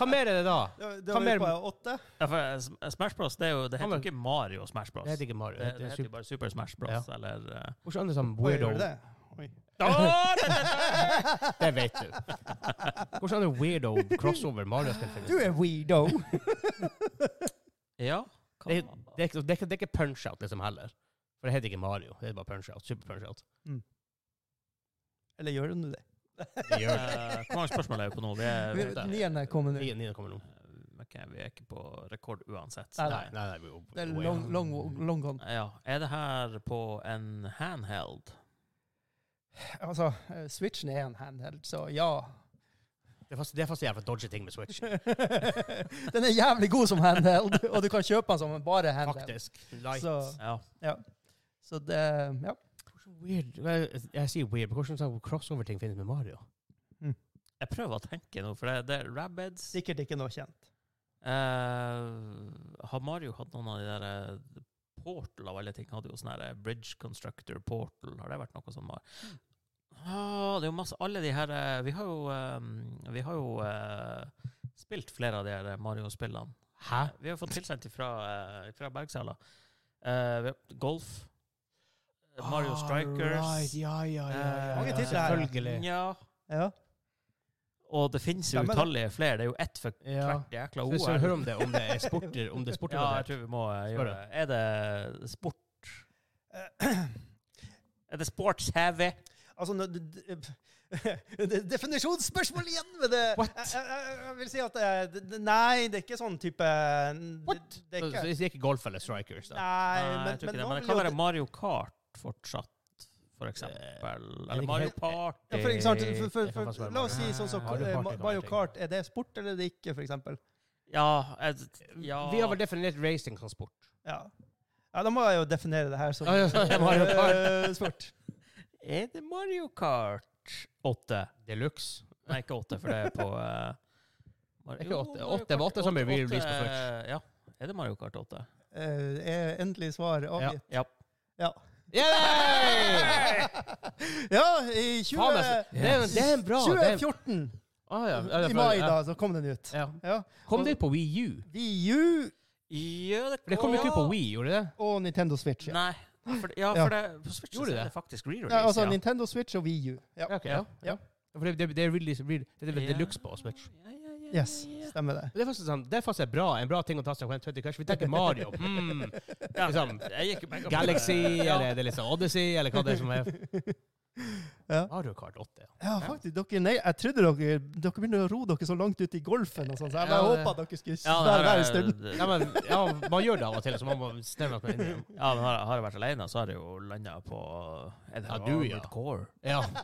S1: mer er det da? Hva mer er det da?
S2: Det var- det
S1: Hva
S2: var
S1: mer-
S2: vi på åtte.
S3: Ja, for eh, Sm- Smash Bros. Det, er jo, det heter
S1: men-
S3: jo ikke Mario Smash Bros.
S1: Det heter
S3: Det,
S1: ikke Mario.
S3: det,
S1: Det, er
S3: heter jo
S1: super,
S3: bare Super Smash Bros. Eller eh,
S1: hvordan er det sånn
S2: Oi,
S1: weirdo
S2: gjorde det? Oi.
S3: Åh, det- det- det-
S1: Det vet du. Hvordan er det weirdo crossover Mario-spill finnes?
S2: Du er weirdo.
S3: Ja. hva-
S1: Det, det, er ikke- det, er ikke- det er ikke punch-out liksom heller. For det heter ikke Mario. Det er bare punch-out. Super punch-out.
S2: Eller gjør du det?
S1: Det gjør det.
S3: Eh, Hvor mange spørsmål er vi på nå? Vi er,
S2: Vi-
S3: der.
S2: Nieren er kommet nå.
S1: Nieren nieren kommer nå.
S3: Eh, ok, vi er ikke på rekord uansett.
S2: Nei,
S1: Nei, nei, nei. vi-
S2: Det er
S1: way
S2: long,
S1: out.
S2: long, long gone.
S3: Ja, Er det her på en handheld?
S2: Altså, eh, Switchen er en handheld, så ja.
S1: Det er fast- det er fast en jævla dodgy ting med Switch.
S2: Den er jævlig god som handheld, og du kan kjøpe den som en bare handheld.
S1: Faktisk. Light.
S2: Så,
S3: Ja.
S2: så det Ja.
S1: Hvordan Weird. Jeg, jeg sier weird, men hvordan sånn crossover-ting finnes med Mario?
S3: Jeg prøver å tenke nå, for det, det er Rabbids
S2: Sikkert ikke noe kjent.
S3: Eh, har Mario hatt noen av de der eh, Portal av alle ting hadde jo sånn her eh, Bridge Constructor Portal. Har det vært noe sånn? Mar- Ah, det er jo masse Alle de her eh, Vi har jo, eh, vi har jo eh, spilt flere av de her eh, Mario-spillene. Eh,
S1: Hæ?
S3: Vi har fått tilsendt fra, fra Bergsala. Eh, vi har- golf.
S1: Ah,
S3: Mario Strikers. Eh,
S1: Alright, Ja, ja, ja. ja,
S2: Mange
S1: ja
S2: titler her, ja.
S1: Eh, selvfølgelig.
S3: Ja.
S2: Ja.
S3: Og det finnes jo
S2: Stemmer det.
S3: utallige flere. Det er jo ett for
S1: Ja.
S3: hvert jækla
S1: Så
S3: OL.
S1: Hvis vi hører om det, om det er sporter, om det er sporter
S3: Ja, jeg tror vi må eh,
S1: Spør
S3: gjøre det. Er det sport?
S2: Eh,
S3: Er det sports-heavy?
S2: Altså, nå- d- d- det er definisjonsspørsmål igjen med det!
S1: What?
S2: Jeg, jeg, jeg vil si at eh, d- d- Nei, det er ikke sånn type
S1: What?
S2: What? Det, det er
S1: Så
S2: ikke,
S1: det er ikke golf eller strikers, da?
S2: nei,
S3: Nei,
S2: men,
S3: jeg tror
S2: men,
S3: ikke det.
S2: nå
S3: Men det
S2: vil
S3: kan
S2: jo-
S3: være Mario Kart fortsatt, for eksempel.
S1: Eh, er
S3: Eller
S1: ikke
S3: Mario
S1: helt-
S3: Party.
S2: ja, for, ikke sant, for,
S1: Det
S2: for,
S1: kan
S2: for,
S1: faktisk være
S2: La
S1: Mario
S2: oss si sånn som
S1: Kart. Mario
S2: eh,
S1: Kart er
S2: Ma-
S1: en
S2: Mario
S1: ting.
S2: Kart. Er det sport eller er det ikke, for eksempel?
S3: Ja, jeg, ja.
S1: Vi har vel definert racing som sport.
S2: Ja. ja, da må jeg jo definere det her som
S1: Ja, ja, ja, Mario Kart.
S2: eh, sport.
S3: Er det Mario Kart 8?
S1: Deluxe.
S3: Nei, ikke 8, for det er på eh, Mar-
S1: Ikke
S3: Jo,
S1: åtte.
S3: Mario
S1: Åtte, det var
S3: Kart
S1: åtte som ble
S3: åtte-
S1: released på
S3: åtte,
S1: Switch.
S3: Ja. Er det Mario Kart 8?
S2: Eh, er endelig svar avgitt?
S3: Ja.
S1: Yay!
S2: ja, i 20,
S1: Faen, altså. Det er, det er en bra det er en,
S2: 2014,
S1: ah, ja. Ja, det er
S2: i
S1: bra.
S2: mai,
S1: Ja.
S2: da, så kom den ut.
S1: Ja.
S2: Ja.
S1: Kom det på Wii U?
S2: VU
S3: Ja,
S1: For det kom jo ikke på Wii, gjorde det?
S2: og Nintendo Switch. Ja.
S3: Nei. For, ja,
S2: Ja.
S3: for det, på Switch så
S1: Gjorde
S3: er
S1: det?
S3: det faktisk re-release.
S2: Nei, altså
S3: ja.
S2: Nintendo Switch og VU. Ja.
S1: Ja, ok, ja.
S2: Ja.
S1: ja. For det, det, det er really, really, det er
S3: Ja.
S1: deluxe på Switch.
S3: Ja, ja, ja, ja,
S2: Yes,
S3: ja.
S2: stemmer det.
S1: Det er faktisk, sånn, det er faktisk bra, en bra ting å ta seg på en 20 Crash. Vi tenker Mario. Hmm.
S3: Ja,
S1: Liksom,
S3: jeg gikk jo begge på-
S1: Galaxy,
S3: Ja.
S1: eller det er liksom Odyssey, eller hva det er som er.
S2: Ja.
S1: Mario Kart 8. ja.
S2: Ja, faktisk. Dere, nei, jeg trodde dere Dere begynner å ro dere så langt ut i golfen og sånn, så jeg bare
S1: Ja, det-
S2: håpet at dere skulle
S3: Ja,
S2: være der en
S3: det-
S2: stund.
S1: Nei, men, ja, man gjør det av og til, så man må stemme seg inn i det.
S3: Ja, men har, har jeg vært alene, så har jeg jo landa på Er det
S1: Ja, du, ja.
S3: Armored Core?
S1: Ja. Det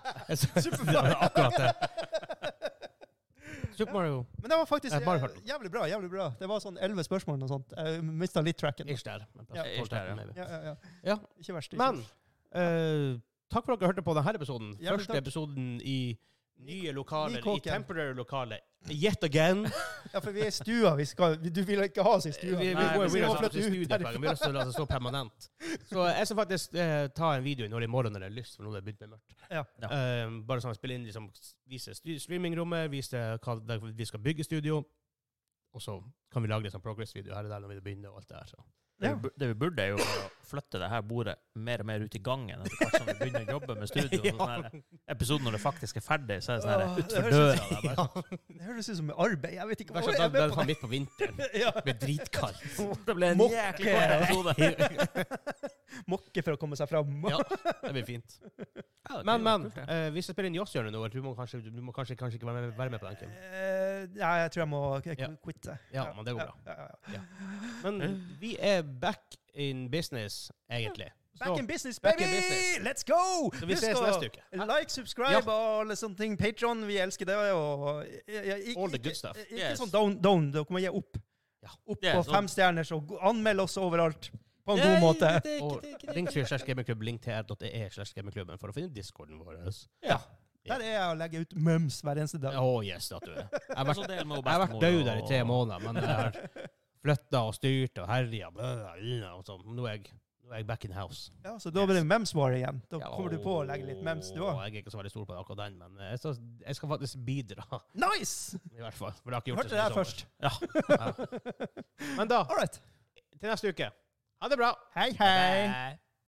S1: var akkurat det. Super Mario.
S2: Men det var faktisk
S1: Eh, Mario
S2: eh,
S1: Kart.
S2: jævlig bra. jævlig bra. Det var sånn elleve spørsmål og sånt. Jeg mista litt tracken.
S1: Ish der. men plass
S3: Ja,
S1: på
S3: ish der, ja.
S1: 12-13 maybe.
S2: Ja, ja, ja.
S1: Ja.
S2: Ikke verst. Ikke
S1: Men
S2: verst.
S1: eh, takk for at dere hørte på denne episoden.
S2: Ja, men
S1: Første
S2: takk.
S1: episoden i nye lokaler,
S2: Ny kåken.
S1: i temporary lokaler. Yet again.
S2: Ja, for vi er i stua. Vi skal, vi- du vil ikke ha oss i
S1: Vi, vi,
S2: stua.
S1: vi,
S3: Nei,
S1: går-
S3: vi
S1: vi,
S3: skal
S1: har
S3: flytte
S1: satt oss i studio på en gang. vi har lyst til å la det stå permanent. Så jeg skal faktisk eh, ta en video i når i morgen når jeg har lyst, for nå har det begynt med mørkt.
S2: Ja.
S3: Ja.
S1: Eh, bare sånn spille inn, liksom, vise stu- streamingrommet, vise hva der vi skal bygge studio, og så kan vi lage litt sånn progress-video her og der når vi begynner og alt det der. Så.
S3: Det,
S2: Ja.
S3: vi bur- det vi burde, er jo å flytte det her bordet mer og mer ut i gangen. Etter hvert som vi begynner å jobbe med studio. og Sånn her episoden når det faktisk er ferdig, så er det sånn
S2: Åh,
S3: her
S2: det
S3: utfor
S2: høres ut-
S3: døra. der bare.
S1: Ja.
S2: Det høres ut som arbeid. Jeg vet ikke hva
S1: Kanskje
S2: jeg
S1: da,
S2: er
S1: da er
S2: med
S1: det
S2: på.
S1: faen midt på vinteren.
S2: Ja.
S1: Det blir dritkaldt.
S3: Det ble en
S2: Mokke.
S3: jæklig kort episode.
S2: Mokke for å komme seg fram.
S1: Ja, det blir fint.
S3: Ja, det
S1: Men,
S3: blir
S1: men,
S3: kult, det.
S1: eh, hvis jeg spiller inn Joss-hjørnet nå, du må kanskje, du må kanskje, kanskje ikke være med, være med på den, Kim.
S2: Eh, ja, jeg tror jeg må k-
S1: Ja.
S2: quitte.
S1: Ja, men det går bra.
S2: Ja, ja, ja.
S1: Men vi er back in business, egentlig.
S2: Back
S1: Så,
S2: in business,
S1: back in
S2: baby!
S1: business.
S2: Let's go!
S1: Så vi ses neste uke.
S2: Like, subscribe
S1: Ja.
S2: og alle sånne ting. Patron, vi elsker det. Og, og, ja, ja, ikke-
S1: All the
S2: ikke-
S1: good stuff.
S2: Ikke
S3: Yes.
S2: sånn down, down. Dere må gi opp.
S1: Ja.
S2: Opp
S3: Det er
S2: på
S3: sånn.
S2: fem stjerner, så go- anmeld oss overalt. På en god måte.
S1: Og ring til slash gamingklubb, link til r.e e slash gamingklubben for å finne discorden vår.
S2: Der er jeg å legge ut mems hver eneste dag.
S1: Å, oh, yes, at du er. Jeg har vært,
S3: Jeg
S1: jeg har vært død der i tre måneder, men jeg har flytta og styrt og herja. Og sånn. nå, er jeg- nå er jeg back in house.
S2: Ja, så da blir det mems war igjen. Da
S1: Ja,
S2: kommer du på å legge litt mems, du òg.
S1: Jeg er ikke så veldig stor på akkurat den, men jeg skal, jeg skal faktisk bidra.
S2: Nice!
S1: I hvert fall. For jeg har ikke gjort
S2: Hørte det her
S1: siden i sommer.
S2: først.
S1: Men da,
S2: All right.
S1: til neste uke. Ha det bra.
S2: Hei, hei.
S1: Bye.